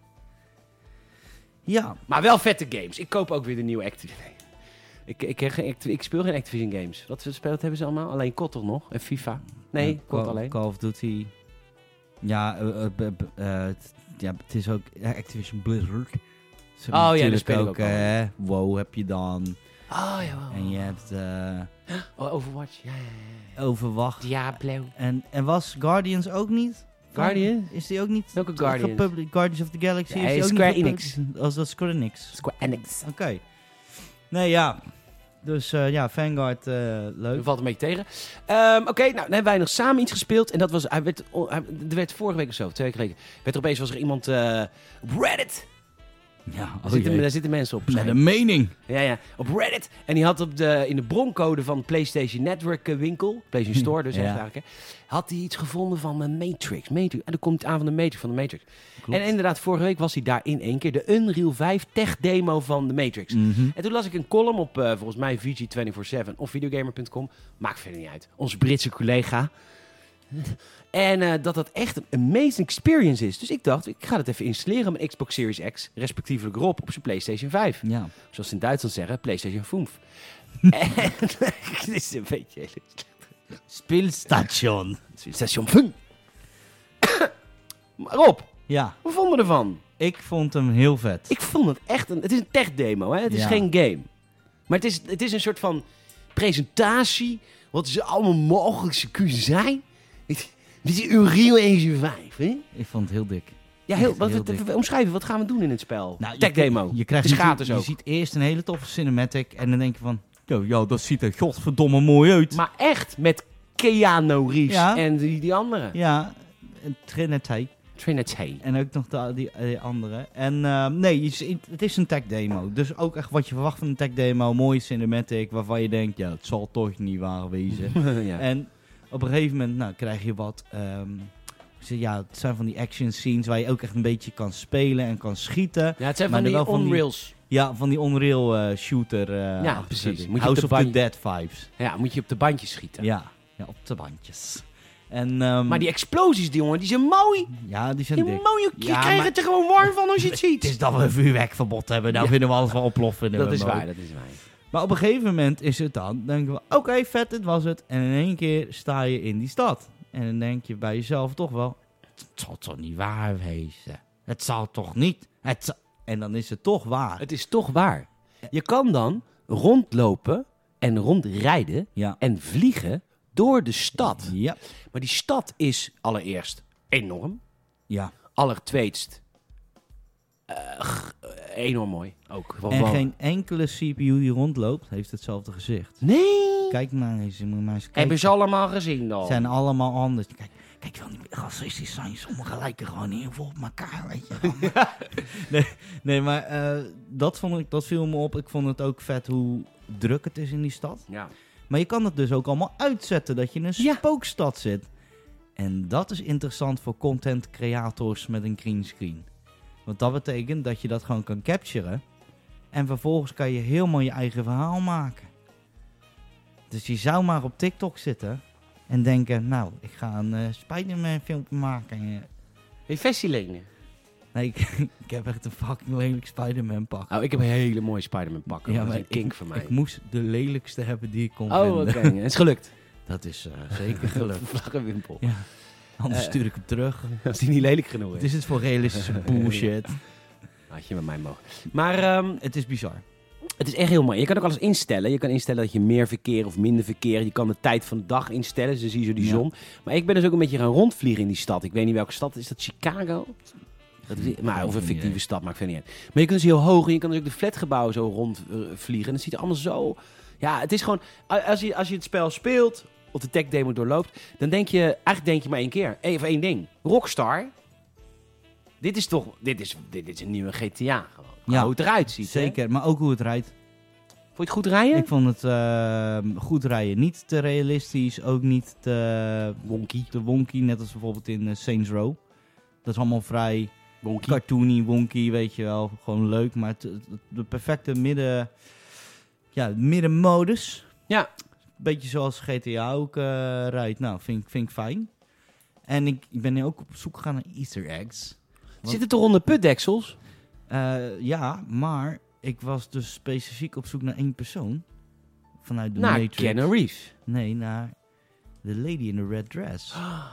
[SPEAKER 1] Ja,
[SPEAKER 2] Maar wel vette games. Ik koop ook weer de nieuwe Activision. Nee. Ik, ik, heb geen Activ- ik speel geen Activision games. Wat voor spel hebben ze allemaal? Alleen Kotter nog en FIFA. Nee,
[SPEAKER 1] Ja,
[SPEAKER 2] Kotter
[SPEAKER 1] Call,
[SPEAKER 2] alleen.
[SPEAKER 1] Call of Duty. Ja, eh, eh, b- b- eh, het- ja, het is ook ja, Activision Blizzard. Ze hebben
[SPEAKER 2] Oh ja, die
[SPEAKER 1] natuurlijk
[SPEAKER 2] spelen we ook al.
[SPEAKER 1] eh, WoW heb je dan.
[SPEAKER 2] Oh ja, wow.
[SPEAKER 1] En je hebt eh,
[SPEAKER 2] Oh, Overwatch. Ja, ja, ja.
[SPEAKER 1] Overwacht.
[SPEAKER 2] Diablo.
[SPEAKER 1] En, en was Guardians ook niet?
[SPEAKER 2] Guardian?
[SPEAKER 1] Is die ook niet?
[SPEAKER 2] Welke Guardians?
[SPEAKER 1] gepubli- Guardians of the Galaxy?
[SPEAKER 2] Nee,
[SPEAKER 1] is die ook
[SPEAKER 2] Square
[SPEAKER 1] niet
[SPEAKER 2] Enix.
[SPEAKER 1] gepubli- Als dat Square Enix.
[SPEAKER 2] Square Enix.
[SPEAKER 1] Oké. Nee, ja. Dus eh, ja, Vanguard, eh, leuk.
[SPEAKER 2] Dat valt een beetje tegen. Ehm, Oké, nou, dan hebben wij nog samen iets gespeeld. En dat was, hij werd, oh, hij- er werd vorige week of zo, twee weken geleden, werd er opeens was er iemand eh, op Reddit.
[SPEAKER 1] Ja,
[SPEAKER 2] Daar, zitten, daar zitten mensen op. waarschijnlijk.
[SPEAKER 1] mening.
[SPEAKER 2] Ja, ja, op Reddit. En die had op de, in de broncode van PlayStation Network eh, winkel, PlayStation Store dus
[SPEAKER 1] Hm, Ja.
[SPEAKER 2] echt eigenlijk, hè, had hij iets gevonden van een Matrix. Matrix. En dan komt het aan van de Matrix, van de Matrix.
[SPEAKER 1] Klopt.
[SPEAKER 2] En inderdaad, vorige week was hij daar in één keer de Unreal 5 tech demo van de Matrix.
[SPEAKER 1] Mhm.
[SPEAKER 2] En toen las ik een column op eh, volgens mij VG247 of videogamer.com. Maakt verder niet uit. Onze Britse collega. En eh, dat dat echt een amazing experience is. Dus ik dacht, ik ga het even installeren op mijn Xbox Series X, respectievelijk Rob, op zijn PlayStation 5.
[SPEAKER 1] Ja.
[SPEAKER 2] Zoals ze in Duitsland zeggen, PlayStation
[SPEAKER 1] *laughs*
[SPEAKER 2] *laughs* 5. en het is een beetje...
[SPEAKER 1] Speelstation.
[SPEAKER 2] Station 5. *coughs* Maar Rob,
[SPEAKER 1] Ja,
[SPEAKER 2] wat vonden we ervan?
[SPEAKER 1] ik vond hem heel vet.
[SPEAKER 2] Ik vond het echt een... Het is een tech-demo, hè? Het is
[SPEAKER 1] Ja.
[SPEAKER 2] geen game. Maar het is, het is een soort van presentatie. Wat ze allemaal mogelijk kunnen zijn. Dit is Unreal Engine 5, hè?
[SPEAKER 1] Ik vond het heel dik.
[SPEAKER 2] Ja, heel,
[SPEAKER 1] Echt
[SPEAKER 2] wat,
[SPEAKER 1] heel
[SPEAKER 2] wat-
[SPEAKER 1] dik.
[SPEAKER 2] wat- omschrijven, wat gaan we doen in het spel?
[SPEAKER 1] Nou,
[SPEAKER 2] Tech
[SPEAKER 1] je-
[SPEAKER 2] demo.
[SPEAKER 1] Je krijgt
[SPEAKER 2] Het is
[SPEAKER 1] natuurlijk-
[SPEAKER 2] gratis
[SPEAKER 1] je
[SPEAKER 2] ook.
[SPEAKER 1] ziet eerst een hele toffe cinematic en dan denk je van... Yo, yo, dat ziet er godverdomme mooi uit.
[SPEAKER 2] Maar echt met Keanu Reeves
[SPEAKER 1] Ja.
[SPEAKER 2] en die, die andere.
[SPEAKER 1] Ja, een Trinity.
[SPEAKER 2] Trinity.
[SPEAKER 1] En ook nog de, die, die andere. En ehm, nee, je ziet- het is een tech demo. Dus ook echt wat je verwacht van een tech demo. Mooie cinematic waarvan je denkt, ja, het zal toch niet waar wezen.
[SPEAKER 2] *laughs* ja.
[SPEAKER 1] En op een gegeven moment nou, krijg je wat. ehm, ze- ja, het zijn van die action scenes waar je ook echt een beetje kan spelen en kan schieten.
[SPEAKER 2] ja, het zijn
[SPEAKER 1] maar
[SPEAKER 2] van die
[SPEAKER 1] dan wel van die-
[SPEAKER 2] onrails.
[SPEAKER 1] Ja, van die Unreal eh, shooter. eh,
[SPEAKER 2] Ja,
[SPEAKER 1] achter
[SPEAKER 2] precies.
[SPEAKER 1] zit ik.
[SPEAKER 2] Moet je
[SPEAKER 1] House
[SPEAKER 2] op
[SPEAKER 1] of
[SPEAKER 2] de
[SPEAKER 1] the Dead vibes.
[SPEAKER 2] Ja, moet je op de bandjes schieten.
[SPEAKER 1] Ja. Ja. op de bandjes. En, ehm,
[SPEAKER 2] Maar die explosies, die jongen, die zijn mooi.
[SPEAKER 1] ja, die zijn
[SPEAKER 2] Die
[SPEAKER 1] dik.
[SPEAKER 2] mooi. Je
[SPEAKER 1] Ja,
[SPEAKER 2] krijgt
[SPEAKER 1] maar-
[SPEAKER 2] het er gewoon warm van als je *laughs* het ziet.
[SPEAKER 1] Het is dat we een vuurwerkverbod hebben. Nou vinden we alles wel oploffen.
[SPEAKER 2] dat is waar, dat is waar.
[SPEAKER 1] Maar op een gegeven moment is het dan, denken we, oké, vet, dit was het. En in één keer sta je in die stad. En dan denk je bij jezelf toch wel, het zal toch niet waar wezen? Het zal toch niet? Het zal- En dan is het toch waar.
[SPEAKER 2] Het is toch waar. Je kan dan rondlopen en rondrijden
[SPEAKER 1] Ja.
[SPEAKER 2] en vliegen door de stad.
[SPEAKER 1] Ja.
[SPEAKER 2] Maar die stad is allereerst enorm.
[SPEAKER 1] ja.
[SPEAKER 2] Allertweetst eh, g- eh, enorm mooi. Ook. Wat-
[SPEAKER 1] En
[SPEAKER 2] wat-
[SPEAKER 1] geen enkele CPU die rondloopt, heeft hetzelfde gezicht.
[SPEAKER 2] Nee!
[SPEAKER 1] Kijk maar eens, je moet maar eens kijken.
[SPEAKER 2] Hebben ze allemaal gezien dan?
[SPEAKER 1] Het zijn allemaal anders. Kijk, kijk wel niet racistisch zijn. Sommigen lijken gewoon heel veel op elkaar, weet je wel. nee, nee, maar eh, dat, vond ik, dat viel me op. Ik vond het ook vet hoe druk het is in die stad.
[SPEAKER 2] Ja.
[SPEAKER 1] Maar je kan het dus ook allemaal uitzetten dat je in een
[SPEAKER 2] Ja.
[SPEAKER 1] spookstad zit. En dat is interessant voor content creators met een greenscreen. Want dat betekent dat je dat gewoon kan capturen. En vervolgens kan je helemaal je eigen verhaal maken. Dus je zou maar op TikTok zitten en denken, nou, ik ga een eh Spider-Man filmpje maken. En, eh,
[SPEAKER 2] Hey, Vestie lenen.
[SPEAKER 1] Nee, *laughs* ik, ik heb echt een fucking lelijk Spider-Man pak.
[SPEAKER 2] Oh, ik heb een hele mooie Spider-Man pakken.
[SPEAKER 1] Ja,
[SPEAKER 2] dat is
[SPEAKER 1] maar
[SPEAKER 2] een kink voor mij.
[SPEAKER 1] Ik moest de lelijkste hebben die ik kon
[SPEAKER 2] Oh,
[SPEAKER 1] vinden.
[SPEAKER 2] oké. Het is gelukt.
[SPEAKER 1] Dat is eh, zeker gelukt.
[SPEAKER 2] *laughs* Vlaggenwimpel.
[SPEAKER 1] Ja. Anders
[SPEAKER 2] Eh,
[SPEAKER 1] stuur ik hem terug.
[SPEAKER 2] Als die niet lelijk genoeg
[SPEAKER 1] Wat
[SPEAKER 2] is.
[SPEAKER 1] is het voor *laughs* realistische bullshit?
[SPEAKER 2] Had je met mij mogen. Maar ehm,
[SPEAKER 1] het is bizar.
[SPEAKER 2] het is echt heel mooi. Je kan ook alles instellen. Je kan instellen dat je meer verkeer of minder verkeer. Je kan de tijd van de dag instellen. Dus dan zie je zo die
[SPEAKER 1] Ja.
[SPEAKER 2] zon. Maar ik ben dus ook een beetje gaan rondvliegen in die stad. Ik weet niet welke stad. Is dat Chicago? Dat is- maar, of een
[SPEAKER 1] Geen
[SPEAKER 2] fictieve
[SPEAKER 1] idee.
[SPEAKER 2] stad, maakt verder niet uit. Maar je kunt dus heel hoog en je kan dus ook de flatgebouwen zo rondvliegen. En het ziet er allemaal zo... Ja, het is gewoon... a- Als je, als je het spel speelt, of de tech demo doorloopt... dan denk je... Eigenlijk denk je maar één keer. Eén of één ding. Rockstar. Dit is toch... Dit is, dit is een nieuwe GTA gewoon.
[SPEAKER 1] Ja.
[SPEAKER 2] Hoe het eruit ziet. hè?
[SPEAKER 1] Zeker, maar ook hoe het rijdt.
[SPEAKER 2] Vond je het goed rijden?
[SPEAKER 1] Ik vond het ehm, goed rijden niet te realistisch, ook niet te,
[SPEAKER 2] Wonky.
[SPEAKER 1] te wonky, net als bijvoorbeeld in eh, Saints Row. Dat is allemaal vrij
[SPEAKER 2] Wonky.
[SPEAKER 1] cartoony, wonky, weet je wel. Gewoon leuk, maar het- het- de perfecte midden, ja, middenmodus.
[SPEAKER 2] Ja.
[SPEAKER 1] Beetje zoals GTA ook eh, rijdt. Nou, vind, ik- vind ik fijn. En ik, ik ben nu ook op zoek gegaan naar easter eggs.
[SPEAKER 2] Zit het er onder putdeksels?
[SPEAKER 1] Eh, ja, maar ik was dus specifiek op zoek naar één persoon. Vanuit de
[SPEAKER 2] Naar
[SPEAKER 1] Matrix.
[SPEAKER 2] Nou, Keanu Reeves.
[SPEAKER 1] Nee, naar de lady in the red
[SPEAKER 2] *gasps*
[SPEAKER 1] dress.
[SPEAKER 2] Ah.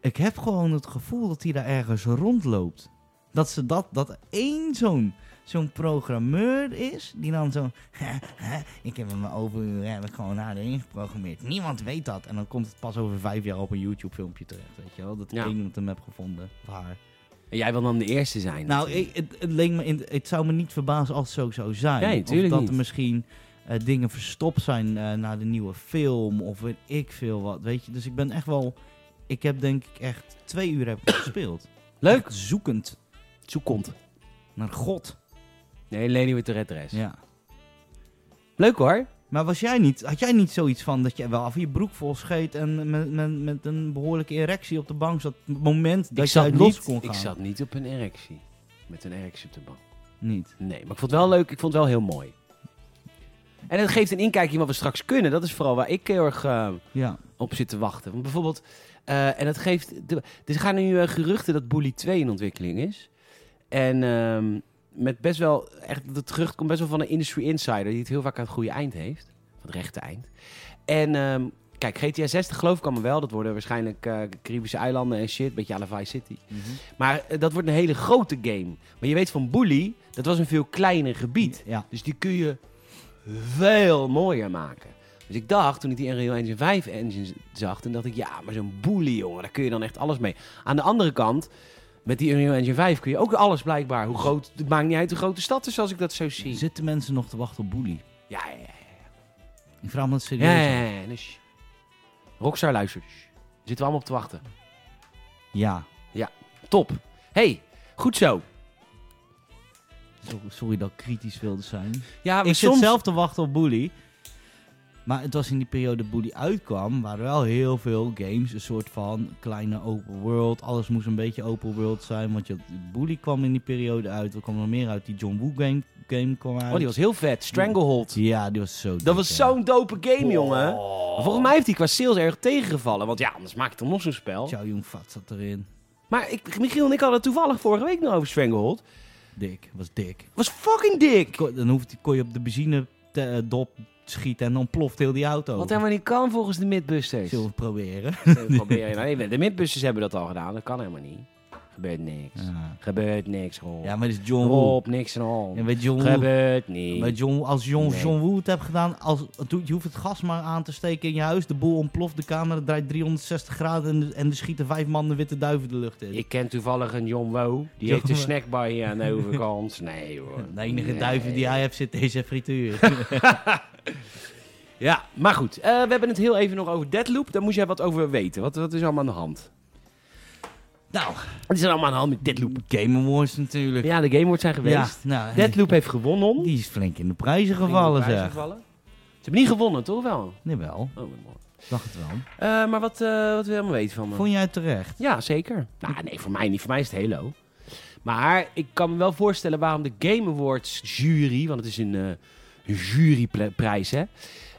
[SPEAKER 1] Ik heb gewoon het gevoel dat hij daar ergens rondloopt. Dat ze dat, dat één zo'n zo'n programmeur is, die dan *laughs* zo... ik heb hem overuren heb ik gewoon naar erin geprogrammeerd. Niemand weet dat. En dan komt het pas over vijf jaar op een YouTube-filmpje terecht, weet je wel. Dat ik
[SPEAKER 2] Ja.
[SPEAKER 1] één iemand hem heb gevonden. Of haar.
[SPEAKER 2] En jij wil dan de eerste zijn.
[SPEAKER 1] Nou, ik-
[SPEAKER 2] natuurlijk.
[SPEAKER 1] het, het, leek me in, het zou me niet verbazen als het zo zou zijn.
[SPEAKER 2] Nee,
[SPEAKER 1] of
[SPEAKER 2] tuurlijk
[SPEAKER 1] dat
[SPEAKER 2] niet.
[SPEAKER 1] er misschien eh, dingen verstopt zijn eh, na de nieuwe film of weet ik veel wat, weet je. Dus ik ben echt wel... Ik heb denk ik echt twee uur heb ik *coughs* gespeeld.
[SPEAKER 2] Leuk.
[SPEAKER 1] Echt zoekend
[SPEAKER 2] Zo komt.
[SPEAKER 1] naar God.
[SPEAKER 2] Nee, Leni with the Red Dress.
[SPEAKER 1] Ja.
[SPEAKER 2] Leuk hoor.
[SPEAKER 1] Maar was jij niet, had jij niet zoiets van dat je wel af je broek vol scheet en met, met, met een behoorlijke erectie op de bank zat? Het moment dat je uit los kon gaan.
[SPEAKER 2] ik zat niet op een erectie. Met een erectie op de bank.
[SPEAKER 1] Niet.
[SPEAKER 2] Nee, maar ik vond het wel leuk. Ik vond het wel heel mooi. En het geeft een inkijkje in wat we straks kunnen. Dat is vooral waar ik heel erg eh,
[SPEAKER 1] Ja.
[SPEAKER 2] op zit te wachten. Want bijvoorbeeld, eh, en dat geeft. De, dus er gaan nu eh, geruchten dat Bully 2 in ontwikkeling is. En ehm, met best wel. Echt, het gerucht komt best wel van een industry insider die het heel vaak aan het goede eind heeft. Van het rechte eind. En ehm, kijk, GTA 60 geloof ik allemaal wel. Dat worden waarschijnlijk eh, Caribische eilanden en shit. Beetje à la Vice City. Maar eh, dat wordt een hele grote game. Maar je weet van Bully, dat was een veel kleiner gebied.
[SPEAKER 1] Ja.
[SPEAKER 2] Dus die kun je veel mooier maken. Dus ik dacht, toen ik die Unreal Engine 5 engine zag, toen dacht ik, ja, maar zo'n boelie, jongen, daar kun je dan echt alles mee. Aan de andere kant, met die Unreal Engine 5 kun je ook alles blijkbaar. Hoe groot, het maakt niet uit hoe groot de stad is als ik dat zo zie.
[SPEAKER 1] Zitten mensen nog te wachten op Boelie?
[SPEAKER 2] Ja, ja, ja.
[SPEAKER 1] Ik vraag me dat serieus.
[SPEAKER 2] ja,
[SPEAKER 1] af.
[SPEAKER 2] ja, ja, ja. Dus, Rockstar, luister. dus. Zitten we allemaal op te wachten.
[SPEAKER 1] Ja.
[SPEAKER 2] Top. hey, goed zo.
[SPEAKER 1] Zo- Sorry dat ik kritisch wilde zijn.
[SPEAKER 2] Ja, maar
[SPEAKER 1] ik
[SPEAKER 2] soms...
[SPEAKER 1] zit zelf te wachten op Bully. Maar het was in die periode dat Bully uitkwam, waren wel heel veel games een soort van kleine open world. Alles moest een beetje open world zijn, want je had- Bully kwam in die periode uit. Er kwam nog meer uit, die John Woo game, game kwam uit.
[SPEAKER 2] Oh, die was heel vet. Stranglehold.
[SPEAKER 1] Ja, die was zo
[SPEAKER 2] Dat
[SPEAKER 1] dik,
[SPEAKER 2] was
[SPEAKER 1] ja.
[SPEAKER 2] zo'n dope game, jongen.
[SPEAKER 1] Oh.
[SPEAKER 2] Maar Volgens mij heeft hij qua sales erg tegengevallen. Want ja, anders maak je toch nog zo'n spel.
[SPEAKER 1] Chow Yun-fat zat erin.
[SPEAKER 2] Maar ik, Michiel en ik hadden het toevallig vorige week nog over Stranglehold.
[SPEAKER 1] Dik, was dik.
[SPEAKER 2] Was fucking dik.
[SPEAKER 1] Ko- Dan hoefde, kon je op de benzine te, eh, dop schieten en dan ploft heel die auto.
[SPEAKER 2] Wat helemaal niet kan volgens de Midbusters.
[SPEAKER 1] Zullen we het proberen? *laughs*
[SPEAKER 2] Probeer je nou even. De Midbusters hebben dat al gedaan. Dat kan helemaal niet. Gebeurt niks.
[SPEAKER 1] Ja.
[SPEAKER 2] Gebeurt niks, Rob.
[SPEAKER 1] Ja, maar dit is John Woo.
[SPEAKER 2] Rob, niks en al.
[SPEAKER 1] En weet John Woo
[SPEAKER 2] Gebeurt
[SPEAKER 1] Maar
[SPEAKER 2] niets.
[SPEAKER 1] John, als John,
[SPEAKER 2] Nee.
[SPEAKER 1] John Woo het hebt gedaan, als, doe- je hoeft het gas maar aan te steken in je huis. De boel ontploft, de camera draait 360 graden en, en er schieten vijf man de witte duiven de lucht in.
[SPEAKER 2] Ik ken toevallig een John Woo. Die
[SPEAKER 1] John
[SPEAKER 2] heeft een
[SPEAKER 1] Woo.
[SPEAKER 2] snackbar hier aan de overkant. Nee, hoor.
[SPEAKER 1] *laughs* De enige
[SPEAKER 2] Nee.
[SPEAKER 1] duiven die hij heeft zit in zijn
[SPEAKER 2] *laughs*
[SPEAKER 1] frituur.
[SPEAKER 2] Ja, maar goed. eh, we hebben het heel even nog over Deadloop. Daar moest jij wat over weten. Wat, wat is allemaal aan de hand?
[SPEAKER 1] nou,
[SPEAKER 2] Wat is er allemaal aan de hand met Deadloop?
[SPEAKER 1] Game Awards natuurlijk.
[SPEAKER 2] Ja, de game wordt zijn
[SPEAKER 1] Ja,
[SPEAKER 2] geweest.
[SPEAKER 1] nou,
[SPEAKER 2] Deadloop heeft gewonnen.
[SPEAKER 1] die is flink in de prijzen gevallen
[SPEAKER 2] Flink in de prijs
[SPEAKER 1] zeg.
[SPEAKER 2] gevallen. Ze hebben niet gewonnen, toch wel?
[SPEAKER 1] Nee wel,
[SPEAKER 2] Oh, mijn god.
[SPEAKER 1] dacht het wel.
[SPEAKER 2] Eh, maar wat, eh, wat wil je allemaal weten van me?
[SPEAKER 1] Vond jij het terecht?
[SPEAKER 2] Ja, zeker. Nou, nee, voor mij niet. Voor mij is het Halo. Maar ik kan me wel voorstellen waarom de Game Awards jury... Want het is een eh, juryprijs, hè?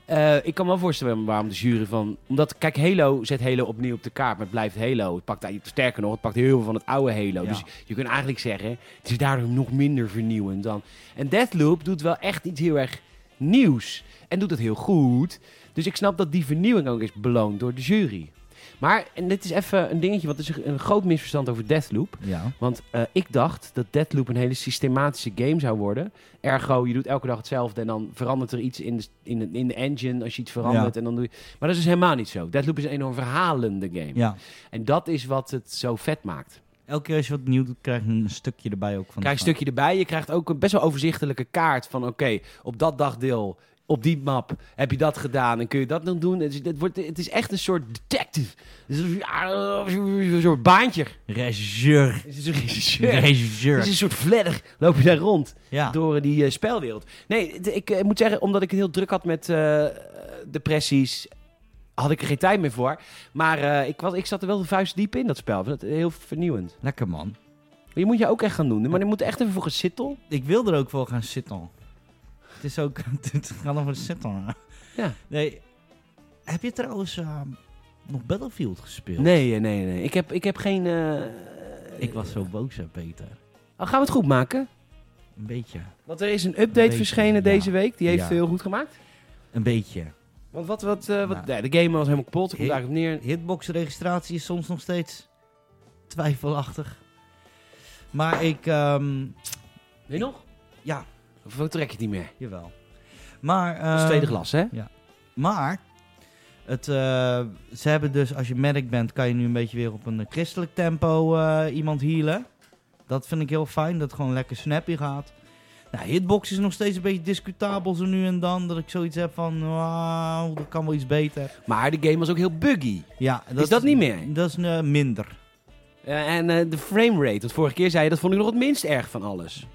[SPEAKER 2] Eh, ik kan me wel voorstellen waarom de jury van... Omdat, kijk, Halo zet Halo opnieuw op de kaart, maar het blijft Halo. Het pakt, eigenlijk- sterker nog, het pakt heel veel van het oude Halo.
[SPEAKER 1] Ja.
[SPEAKER 2] Dus je kunt eigenlijk zeggen, het is daardoor nog minder vernieuwend dan... En Deathloop doet wel echt iets heel erg nieuws. En doet dat heel goed. Dus ik snap dat die vernieuwing ook is beloond door de jury. Maar, en dit is even een dingetje, want het is een groot misverstand over Deathloop.
[SPEAKER 1] Ja.
[SPEAKER 2] Want eh, ik dacht dat Deadloop een hele systematische game zou worden. Ergo, je doet elke dag hetzelfde en dan verandert er iets in de, in de, in de engine als je iets verandert. En dan doe je... Maar dat is dus helemaal niet zo. Deadloop is een enorm verhalende game.
[SPEAKER 1] ja.
[SPEAKER 2] En dat is wat het zo vet maakt.
[SPEAKER 1] Elke keer als je wat nieuw doet, krijg je een stukje erbij ook van.
[SPEAKER 2] Krijg een stukje erbij. Je krijgt ook een best wel overzichtelijke kaart van oké, op dat dagdeel, op die map heb je dat gedaan en kun je dat nog doen. Het is, het wordt, het is echt een soort detective. Het is een- een soort baantje.
[SPEAKER 1] Regisseur.
[SPEAKER 2] Het is
[SPEAKER 1] *laughs*
[SPEAKER 2] een regisseur. Het is
[SPEAKER 1] Regisseur.
[SPEAKER 2] een soort fladder. Loop je daar rond.
[SPEAKER 1] Ja.
[SPEAKER 2] door eh, die eh, spelwereld. Nee, d- ik eh, moet zeggen, omdat ik het heel druk had met eh, depressies, had ik er geen tijd meer voor. Maar eh, ik, was, ik zat er wel de vuist diep in, dat spel. Ik vind het heel vernieuwend.
[SPEAKER 1] Lekker man.
[SPEAKER 2] Maar je moet je ook echt gaan doen. Maar je moet echt even voor gaan zitten.
[SPEAKER 1] ik wil er ook voor gaan zitten. Het is ook... *laughs* Het gaat over zitten.
[SPEAKER 2] Ja.
[SPEAKER 1] Nee. Heb je trouwens eh, nog Battlefield gespeeld?
[SPEAKER 2] Nee, eh, nee, nee. Ik heb, ik heb geen... eh,
[SPEAKER 1] Ik was zo boos, hè, Peter.
[SPEAKER 2] Oh, gaan we het goed maken?
[SPEAKER 1] Een beetje.
[SPEAKER 2] Want er is een update
[SPEAKER 1] Weet je,
[SPEAKER 2] verschenen
[SPEAKER 1] ja.
[SPEAKER 2] deze week. Die heeft
[SPEAKER 1] Ja.
[SPEAKER 2] heel goed gemaakt.
[SPEAKER 1] Een beetje.
[SPEAKER 2] Want wat... wat, eh, wat
[SPEAKER 1] Nou.
[SPEAKER 2] nee, de game was helemaal kapot. Ik kom
[SPEAKER 1] Ik-
[SPEAKER 2] daar op neer.
[SPEAKER 1] Hitbox-registratie is soms nog steeds twijfelachtig. Maar ik... ehm,
[SPEAKER 2] Weet je nog?
[SPEAKER 1] ja,
[SPEAKER 2] Of trek je het niet meer?
[SPEAKER 1] jawel. Maar...
[SPEAKER 2] Dat is het tweede
[SPEAKER 1] ehm,
[SPEAKER 2] glas, hè?
[SPEAKER 1] Maar het, eh, ze hebben dus, als je medic bent, kan je nu een beetje weer op een eh, christelijk tempo eh, iemand healen. Dat vind ik heel fijn, dat het gewoon lekker snappy gaat. Nou, hitbox is nog steeds een beetje discutabel zo nu en dan. Dat ik zoiets heb van, wauw, dat kan wel iets beter.
[SPEAKER 2] Maar de game was ook heel buggy.
[SPEAKER 1] Ja,
[SPEAKER 2] Is dat niet meer?
[SPEAKER 1] Dat is eh, minder.
[SPEAKER 2] Eh, en eh, de framerate, want vorige keer zei je dat vond ik nog het minst erg van alles.
[SPEAKER 1] Oh,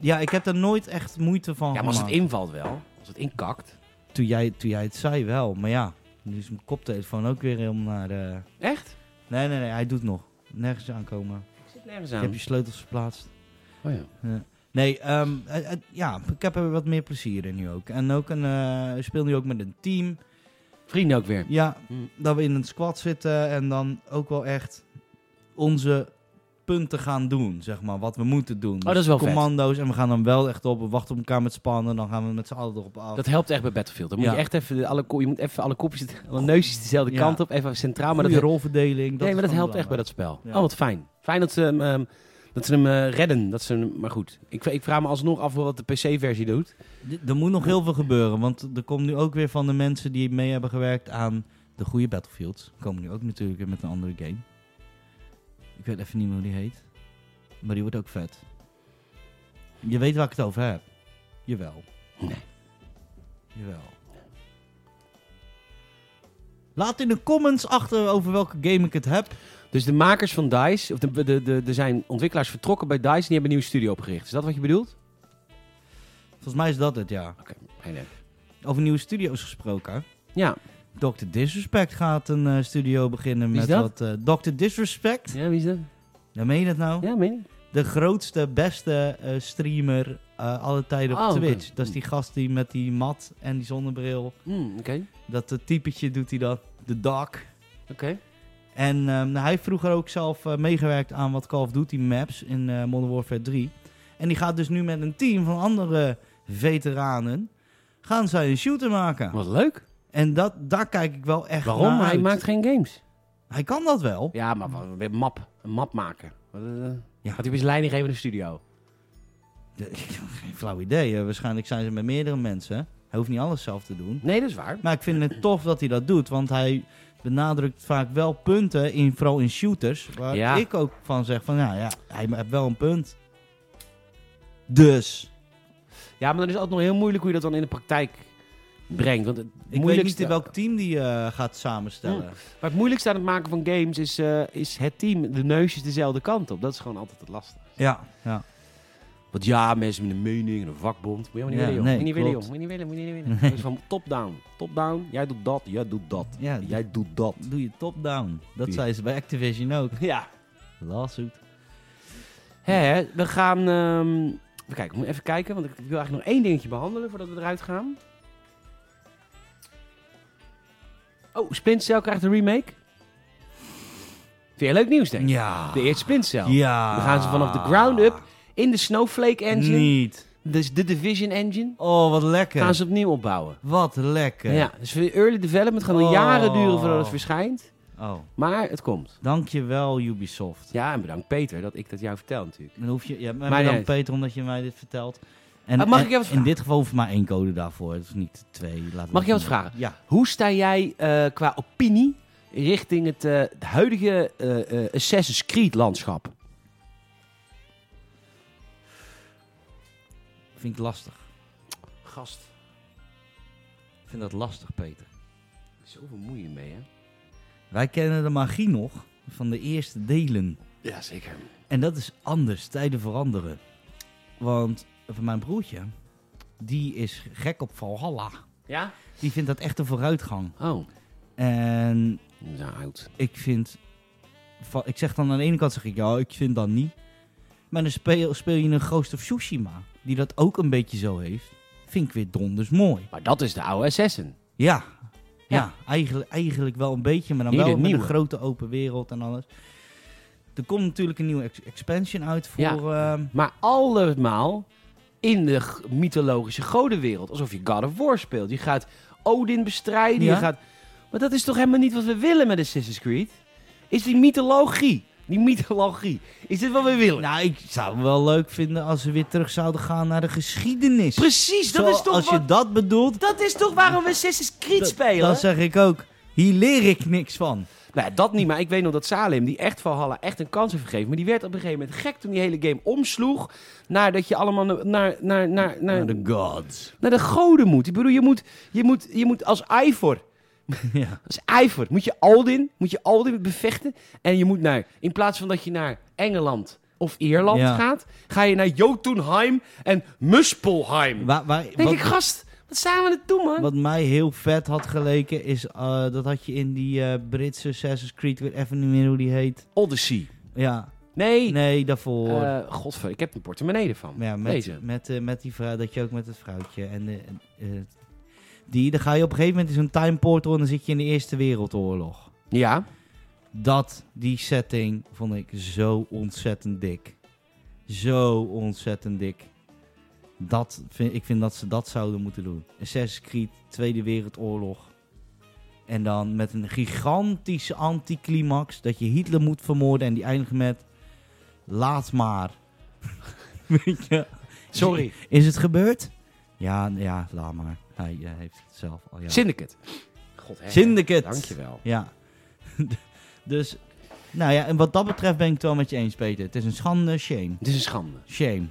[SPEAKER 1] Ja, ik heb er nooit echt moeite van
[SPEAKER 2] ja, maar als het
[SPEAKER 1] gemaakt.
[SPEAKER 2] invalt wel, als het inkakt.
[SPEAKER 1] Toen jij, toen jij het zei wel, maar ja. Nu is mijn koptelefoon ook weer helemaal naar... eh,
[SPEAKER 2] Echt?
[SPEAKER 1] Nee, nee, nee, hij doet nog. Nergens aankomen.
[SPEAKER 2] Ik zit nergens
[SPEAKER 1] Ik
[SPEAKER 2] aan.
[SPEAKER 1] heb je sleutels verplaatst.
[SPEAKER 2] Oh ja.
[SPEAKER 1] Nee, ehm, eh, eh, ja, ik heb er wat meer plezier in nu ook. En ook een, eh, ik speel nu ook met een team.
[SPEAKER 2] Vrienden ook weer.
[SPEAKER 1] Ja,
[SPEAKER 2] Hmm.
[SPEAKER 1] dat we in een squad zitten en dan ook wel echt onze punten gaan doen, zeg maar, wat we moeten doen.
[SPEAKER 2] Oh, dat is wel vet.
[SPEAKER 1] Commando's en we gaan dan wel echt op, we wachten op elkaar met spannen, dan gaan we met z'n allen erop af.
[SPEAKER 2] Dat helpt echt bij Battlefield. Dan moet
[SPEAKER 1] Ja.
[SPEAKER 2] je echt even de- alle, ko- je moet even alle kopjes, alle neusjes dezelfde
[SPEAKER 1] Ja.
[SPEAKER 2] kant op, even centraal. Maar
[SPEAKER 1] Goeie
[SPEAKER 2] dat,
[SPEAKER 1] rolverdeling.
[SPEAKER 2] nee,
[SPEAKER 1] is
[SPEAKER 2] maar dat
[SPEAKER 1] gewoon
[SPEAKER 2] helpt echt bij dat spel.
[SPEAKER 1] Ja.
[SPEAKER 2] Oh, wat fijn. Fijn dat ze hem, ehm, dat ze hem eh, redden. Dat ze hem, maar goed, ik, ik vraag me alsnog af wat de PC-versie doet.
[SPEAKER 1] D- Er moet nog heel veel gebeuren, want er komt nu ook weer van de mensen die mee hebben gewerkt aan de goede Battlefields. Komen nu ook natuurlijk weer met een andere game. Ik weet even niet meer hoe die heet. Maar die wordt ook vet. Je weet waar ik het over heb. Jawel.
[SPEAKER 2] Nee.
[SPEAKER 1] Jawel. Laat in de comments achter over welke game ik het heb.
[SPEAKER 2] Dus de makers van DICE, of de, de, de, de- er zijn ontwikkelaars vertrokken bij DICE en die hebben een nieuwe studio opgericht. Is dat wat je bedoelt?
[SPEAKER 1] Volgens mij is dat het, ja.
[SPEAKER 2] Oké, geen idee.
[SPEAKER 1] Over nieuwe studio's gesproken.
[SPEAKER 2] Ja.
[SPEAKER 1] Dr. Disrespect gaat een eh, studio beginnen
[SPEAKER 2] Wie is
[SPEAKER 1] met
[SPEAKER 2] dat?
[SPEAKER 1] wat... eh, Dr. Disrespect.
[SPEAKER 2] ja, wie is dat?
[SPEAKER 1] Ja, meen je dat nou?
[SPEAKER 2] Ja, meen je?
[SPEAKER 1] De grootste, beste eh, streamer eh alle tijden op
[SPEAKER 2] Oh, oké.
[SPEAKER 1] Twitch. Dat is die gast die met die mat en die zonnebril.
[SPEAKER 2] Hmm, Oké,
[SPEAKER 1] Dat eh, typetje doet hij dat. De dak.
[SPEAKER 2] oké.
[SPEAKER 1] En ehm, nou, hij heeft vroeger ook zelf eh, meegewerkt aan wat Call of Duty maps in eh, Modern Warfare 3. En die gaat dus nu met een team van andere veteranen... gaan zij een shooter maken.
[SPEAKER 2] Nou, Wat leuk.
[SPEAKER 1] En dat, daar kijk ik wel echt
[SPEAKER 2] Waarom?
[SPEAKER 1] naar
[SPEAKER 2] Hij
[SPEAKER 1] uit.
[SPEAKER 2] maakt geen games.
[SPEAKER 1] Hij kan dat wel.
[SPEAKER 2] Ja, maar wat- een map. Een map maken. Wat, eh,
[SPEAKER 1] Ja.
[SPEAKER 2] Gaat hij opeens leiding geven in de studio?
[SPEAKER 1] De- *laughs* geen flauw idee. eh, waarschijnlijk zijn ze met meerdere mensen. Hij hoeft niet alles zelf te doen.
[SPEAKER 2] Nee, dat is waar.
[SPEAKER 1] Maar ik vind het tof dat hij dat doet, want hij benadrukt vaak wel punten, in, vooral in shooters, waar
[SPEAKER 2] Ja.
[SPEAKER 1] ik ook van zeg van, nou ja, ja, hij heeft wel een punt. Dus,
[SPEAKER 2] Ja, maar dan is het altijd nog heel moeilijk hoe je dat dan in de praktijk brengt. Want het
[SPEAKER 1] ik weet niet
[SPEAKER 2] moeilijkste, Hmm.
[SPEAKER 1] in welk team die eh, gaat samenstellen.
[SPEAKER 2] Maar het moeilijkste aan het maken van games is, eh, is het team, de neusjes dezelfde kant op. Dat is gewoon altijd het lastige.
[SPEAKER 1] Ja, ja.
[SPEAKER 2] Want ja, mensen met een mening en een vakbond. Moet je helemaal niet
[SPEAKER 1] Ja,
[SPEAKER 2] willen, joh.
[SPEAKER 1] nee,
[SPEAKER 2] moet je niet willen, joh.
[SPEAKER 1] klopt.
[SPEAKER 2] Moet je niet willen, moet je niet
[SPEAKER 1] *laughs*
[SPEAKER 2] willen. Dat is van top-down. Top-down, jij doet dat, jij doet dat.
[SPEAKER 1] ja
[SPEAKER 2] Jij doet dat. *laughs*
[SPEAKER 1] doe je top-down. Dat
[SPEAKER 2] Ja.
[SPEAKER 1] zei ze bij Activision ook.
[SPEAKER 2] Ja.
[SPEAKER 1] Lawsuit.
[SPEAKER 2] Hè, hè, we gaan... ehm, even kijken, ik moet even kijken, want ik wil eigenlijk nog één dingetje behandelen voordat we eruit gaan. Oh, Splinter Cell krijgt een remake. Vind je leuk nieuws, denk ik?
[SPEAKER 1] Ja.
[SPEAKER 2] De eerste Splinter Cell.
[SPEAKER 1] Ja.
[SPEAKER 2] We gaan ze vanaf de ground up in de Snowflake engine,
[SPEAKER 1] Niet.
[SPEAKER 2] dus de Division engine,
[SPEAKER 1] Oh, wat lekker.
[SPEAKER 2] gaan ze opnieuw opbouwen.
[SPEAKER 1] Wat lekker.
[SPEAKER 2] Ja, dus voor de early development gaat nog
[SPEAKER 1] Oh.
[SPEAKER 2] jaren duren voordat het verschijnt,
[SPEAKER 1] Oh,
[SPEAKER 2] maar het komt.
[SPEAKER 1] dankjewel Ubisoft.
[SPEAKER 2] Ja, en bedankt Peter dat ik dat jou vertel natuurlijk.
[SPEAKER 1] Dan hoef je, ja, maar
[SPEAKER 2] Maar
[SPEAKER 1] dan
[SPEAKER 2] niet.
[SPEAKER 1] Peter, omdat je mij dit vertelt. En,
[SPEAKER 2] Ah, mag
[SPEAKER 1] en-
[SPEAKER 2] ik jou wat
[SPEAKER 1] In
[SPEAKER 2] vragen?
[SPEAKER 1] dit geval hoeft maar één code daarvoor, dus niet twee. Laten we dat
[SPEAKER 2] Mag ik jou wat
[SPEAKER 1] doen.
[SPEAKER 2] vragen?
[SPEAKER 1] Ja.
[SPEAKER 2] Hoe sta jij eh, qua opinie richting het eh, het huidige eh, eh, Assassin's Creed landschap?
[SPEAKER 1] Vind ik lastig.
[SPEAKER 2] Gast,
[SPEAKER 1] Ik vind dat lastig, Peter.
[SPEAKER 2] zoveel moeite mee hè?
[SPEAKER 1] Wij kennen de magie nog van de eerste delen.
[SPEAKER 2] Ja, zeker.
[SPEAKER 1] En dat is anders, tijden veranderen. Want van mijn broertje, die is gek op Valhalla.
[SPEAKER 2] Ja?
[SPEAKER 1] Die vindt dat echt een vooruitgang.
[SPEAKER 2] Oh,
[SPEAKER 1] En
[SPEAKER 2] nou oud.
[SPEAKER 1] ik vind. va- Ik zeg dan aan de ene kant zeg ik ja, ik vind dat niet. Maar dan speel, speel je een Ghost of Tsushima, die dat ook een beetje zo heeft. Vind ik weer donders mooi.
[SPEAKER 2] Maar dat is de oude Assassin.
[SPEAKER 1] Ja, ja.
[SPEAKER 2] Ja.
[SPEAKER 1] eigenlijk, eigenlijk wel een beetje, maar dan
[SPEAKER 2] Hier
[SPEAKER 1] wel
[SPEAKER 2] het
[SPEAKER 1] met een
[SPEAKER 2] nieuwe.
[SPEAKER 1] grote open wereld en alles. Er komt natuurlijk een nieuwe ex- expansion uit voor.
[SPEAKER 2] Ja.
[SPEAKER 1] ehm,
[SPEAKER 2] Maar allemaal in de g- mythologische godenwereld. Alsof je God of War speelt. Je gaat Odin bestrijden,
[SPEAKER 1] Ja.
[SPEAKER 2] je gaat... Maar dat is toch helemaal niet wat we willen met Assassin's Creed? Is die mythologie, die mythologie, is dit wat we willen?
[SPEAKER 1] nou, ik zou het wel leuk vinden als ze weer terug zouden gaan naar de geschiedenis.
[SPEAKER 2] Precies, dat
[SPEAKER 1] Zo,
[SPEAKER 2] is toch
[SPEAKER 1] als
[SPEAKER 2] wat...
[SPEAKER 1] je dat bedoelt,
[SPEAKER 2] Dat is toch waarom we Assassin's Creed
[SPEAKER 1] da-
[SPEAKER 2] spelen?
[SPEAKER 1] dan zeg ik ook, hier leer ik niks van.
[SPEAKER 2] Nou, ja, dat niet, maar ik weet nog dat Salem, die echt Valhalla echt een kans heeft gegeven. Maar die werd op een gegeven moment gek toen die hele game omsloeg. Naar dat je allemaal na- naar, naar, naar, naar,
[SPEAKER 1] Naar de gods.
[SPEAKER 2] naar de goden moet. Ik bedoel, je moet, je moet, je moet als Ivor,
[SPEAKER 1] *laughs* Ja.
[SPEAKER 2] als Ivor, moet je Aldin, moet je Aldin bevechten. En je moet naar, in plaats van dat je naar Engeland of Ierland
[SPEAKER 1] Ja.
[SPEAKER 2] gaat, ga je naar Jotunheim en Muspelheim.
[SPEAKER 1] Waar, waar,
[SPEAKER 2] Denk
[SPEAKER 1] wat,
[SPEAKER 2] ik, gast, wat zijn we aan het doen, man?
[SPEAKER 1] wat mij heel vet had geleken is, eh, dat had je in die eh, Britse Assassin's Creed, ik weet even niet meer hoe die heet.
[SPEAKER 2] Odyssey.
[SPEAKER 1] Ja,
[SPEAKER 2] Nee,
[SPEAKER 1] nee, daarvoor.
[SPEAKER 2] Eh, godver, ik heb een portemonnee ervan.
[SPEAKER 1] ja,
[SPEAKER 2] Deze.
[SPEAKER 1] met, met, eh, met die vrouw, dat je ook met het vrouwtje en de, eh, Die, dan ga je op een gegeven moment in zo'n time portal en dan zit je in de Eerste Wereldoorlog.
[SPEAKER 2] Ja.
[SPEAKER 1] Dat, die setting, vond ik zo ontzettend dik. Zo ontzettend dik. Dat vind, ik vind dat ze dat zouden moeten doen. Assassin's Creed, Tweede Wereldoorlog. En dan met een gigantische anticlimax dat je Hitler moet vermoorden en die eindigen met... Laat maar. *laughs* Weet je?
[SPEAKER 2] Sorry.
[SPEAKER 1] Is het gebeurd? Ja, ja, laat maar. Hij eh, heeft het zelf al. Ja.
[SPEAKER 2] Syndicate. God, hè.
[SPEAKER 1] Syndicate.
[SPEAKER 2] Dankjewel.
[SPEAKER 1] Ja. *laughs* dus, nou ja, en wat dat betreft ben ik het wel met je eens, Peter. Het is een schande, shame.
[SPEAKER 2] Dit is een schande.
[SPEAKER 1] Shame.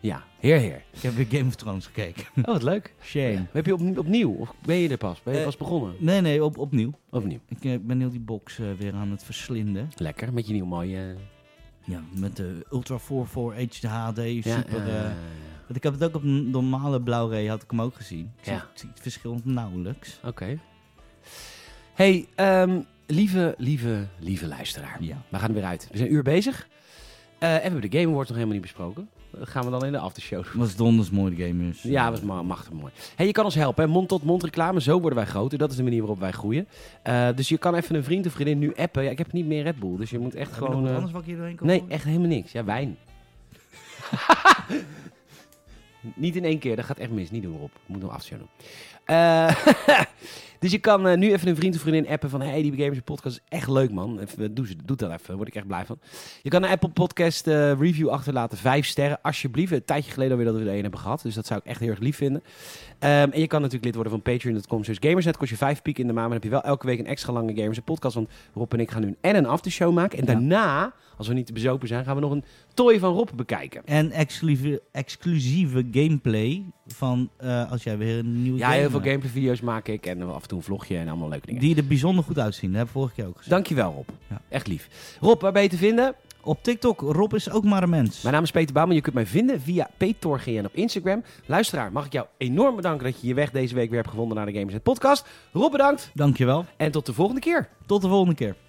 [SPEAKER 2] Ja. Heer, heer.
[SPEAKER 1] Ik heb weer Game of Thrones gekeken. *laughs*
[SPEAKER 2] Oh, wat leuk.
[SPEAKER 1] Shame.
[SPEAKER 2] Heb je op, opnieuw? Of ben je er pas? Ben je
[SPEAKER 1] Eh,
[SPEAKER 2] pas begonnen?
[SPEAKER 1] Nee, nee, op, opnieuw.
[SPEAKER 2] Opnieuw.
[SPEAKER 1] Ik eh, ben heel die box eh, weer aan het verslinden.
[SPEAKER 2] Lekker, met je nieuw mooie... eh,
[SPEAKER 1] Ja, met de Ultra 44 HD,
[SPEAKER 2] Ja,
[SPEAKER 1] super...
[SPEAKER 2] ja, ja,
[SPEAKER 1] eh,
[SPEAKER 2] ja.
[SPEAKER 1] want ik heb het ook op een normale Blu-ray, had ik hem ook gezien. Ik zie-
[SPEAKER 2] Ja.
[SPEAKER 1] ik zie het verschil nauwelijks.
[SPEAKER 2] Oké. Hey, ehm, lieve, lieve, lieve luisteraar.
[SPEAKER 1] Ja.
[SPEAKER 2] We gaan er weer uit. We zijn een uur bezig. Eh, en we hebben de Game Award nog helemaal niet besproken. Dat gaan we dan in de aftershow doen.
[SPEAKER 1] Was donders mooi de game dus. is.
[SPEAKER 2] Ja, dat is ma- machtig mooi. Hey, je kan ons helpen. hè. Mond-tot-mond reclame, zo worden wij groter. Dat is de manier waarop wij groeien. Eh, dus je kan even een vriend of vriendin nu appen. Ja, ik heb niet meer Red Bull, dus je moet echt
[SPEAKER 1] Heb je nog
[SPEAKER 2] gewoon...
[SPEAKER 1] wat
[SPEAKER 2] eh,
[SPEAKER 1] anders wat ik hier doorheen kan
[SPEAKER 2] Nee,
[SPEAKER 1] gooien?
[SPEAKER 2] echt helemaal niks. Ja, wijn. *laughs* niet in één keer, dat gaat echt mis. Niet doen Rob. Moet nog afzien doen. Eh, *laughs* dus je kan eh, nu even een vriend of vriendin appen van... Hey, die Gamers podcast is echt leuk, man. Even, eh, doe, ze- doe dat even, daar word ik echt blij van. Je kan een Apple Podcast eh, review achterlaten. Vijf sterren, alsjeblieft. Een tijdje geleden alweer dat we er één hebben gehad. Dus dat zou ik echt heel erg lief vinden. Ehm, en je kan natuurlijk lid worden van patreon.com. slash gamersnet kost je vijf piek in de maand. Maar dan heb je wel elke week een extra lange Gamers podcast. Want Rob en ik gaan nu een en een aftershow maken. En
[SPEAKER 1] Ja.
[SPEAKER 2] daarna, als we niet te bezopen zijn, gaan we nog een toy van Rob bekijken.
[SPEAKER 1] En exclusieve, exclusieve gameplay van eh, als jij weer een nieuwe
[SPEAKER 2] Ja,
[SPEAKER 1] game
[SPEAKER 2] heel veel
[SPEAKER 1] maakt.
[SPEAKER 2] gameplay video's maak ik. En af en toe een vlogje en allemaal leuke dingen.
[SPEAKER 1] Die er bijzonder goed uitzien. Dat heb ik vorige keer ook gezien.
[SPEAKER 2] Dankjewel Rob.
[SPEAKER 1] Ja.
[SPEAKER 2] Echt lief. Rob, waar ben je te vinden?
[SPEAKER 1] Op TikTok, Rob is ook maar een mens.
[SPEAKER 2] Mijn naam is Peter Bouwman. Je kunt mij vinden via PetorGN op Instagram. Luisteraar, mag ik jou enorm bedanken dat je je weg deze week weer hebt gevonden naar de Gamers Net Podcast. Rob, bedankt.
[SPEAKER 1] Dankjewel.
[SPEAKER 2] En tot de volgende keer.
[SPEAKER 1] Tot de volgende keer.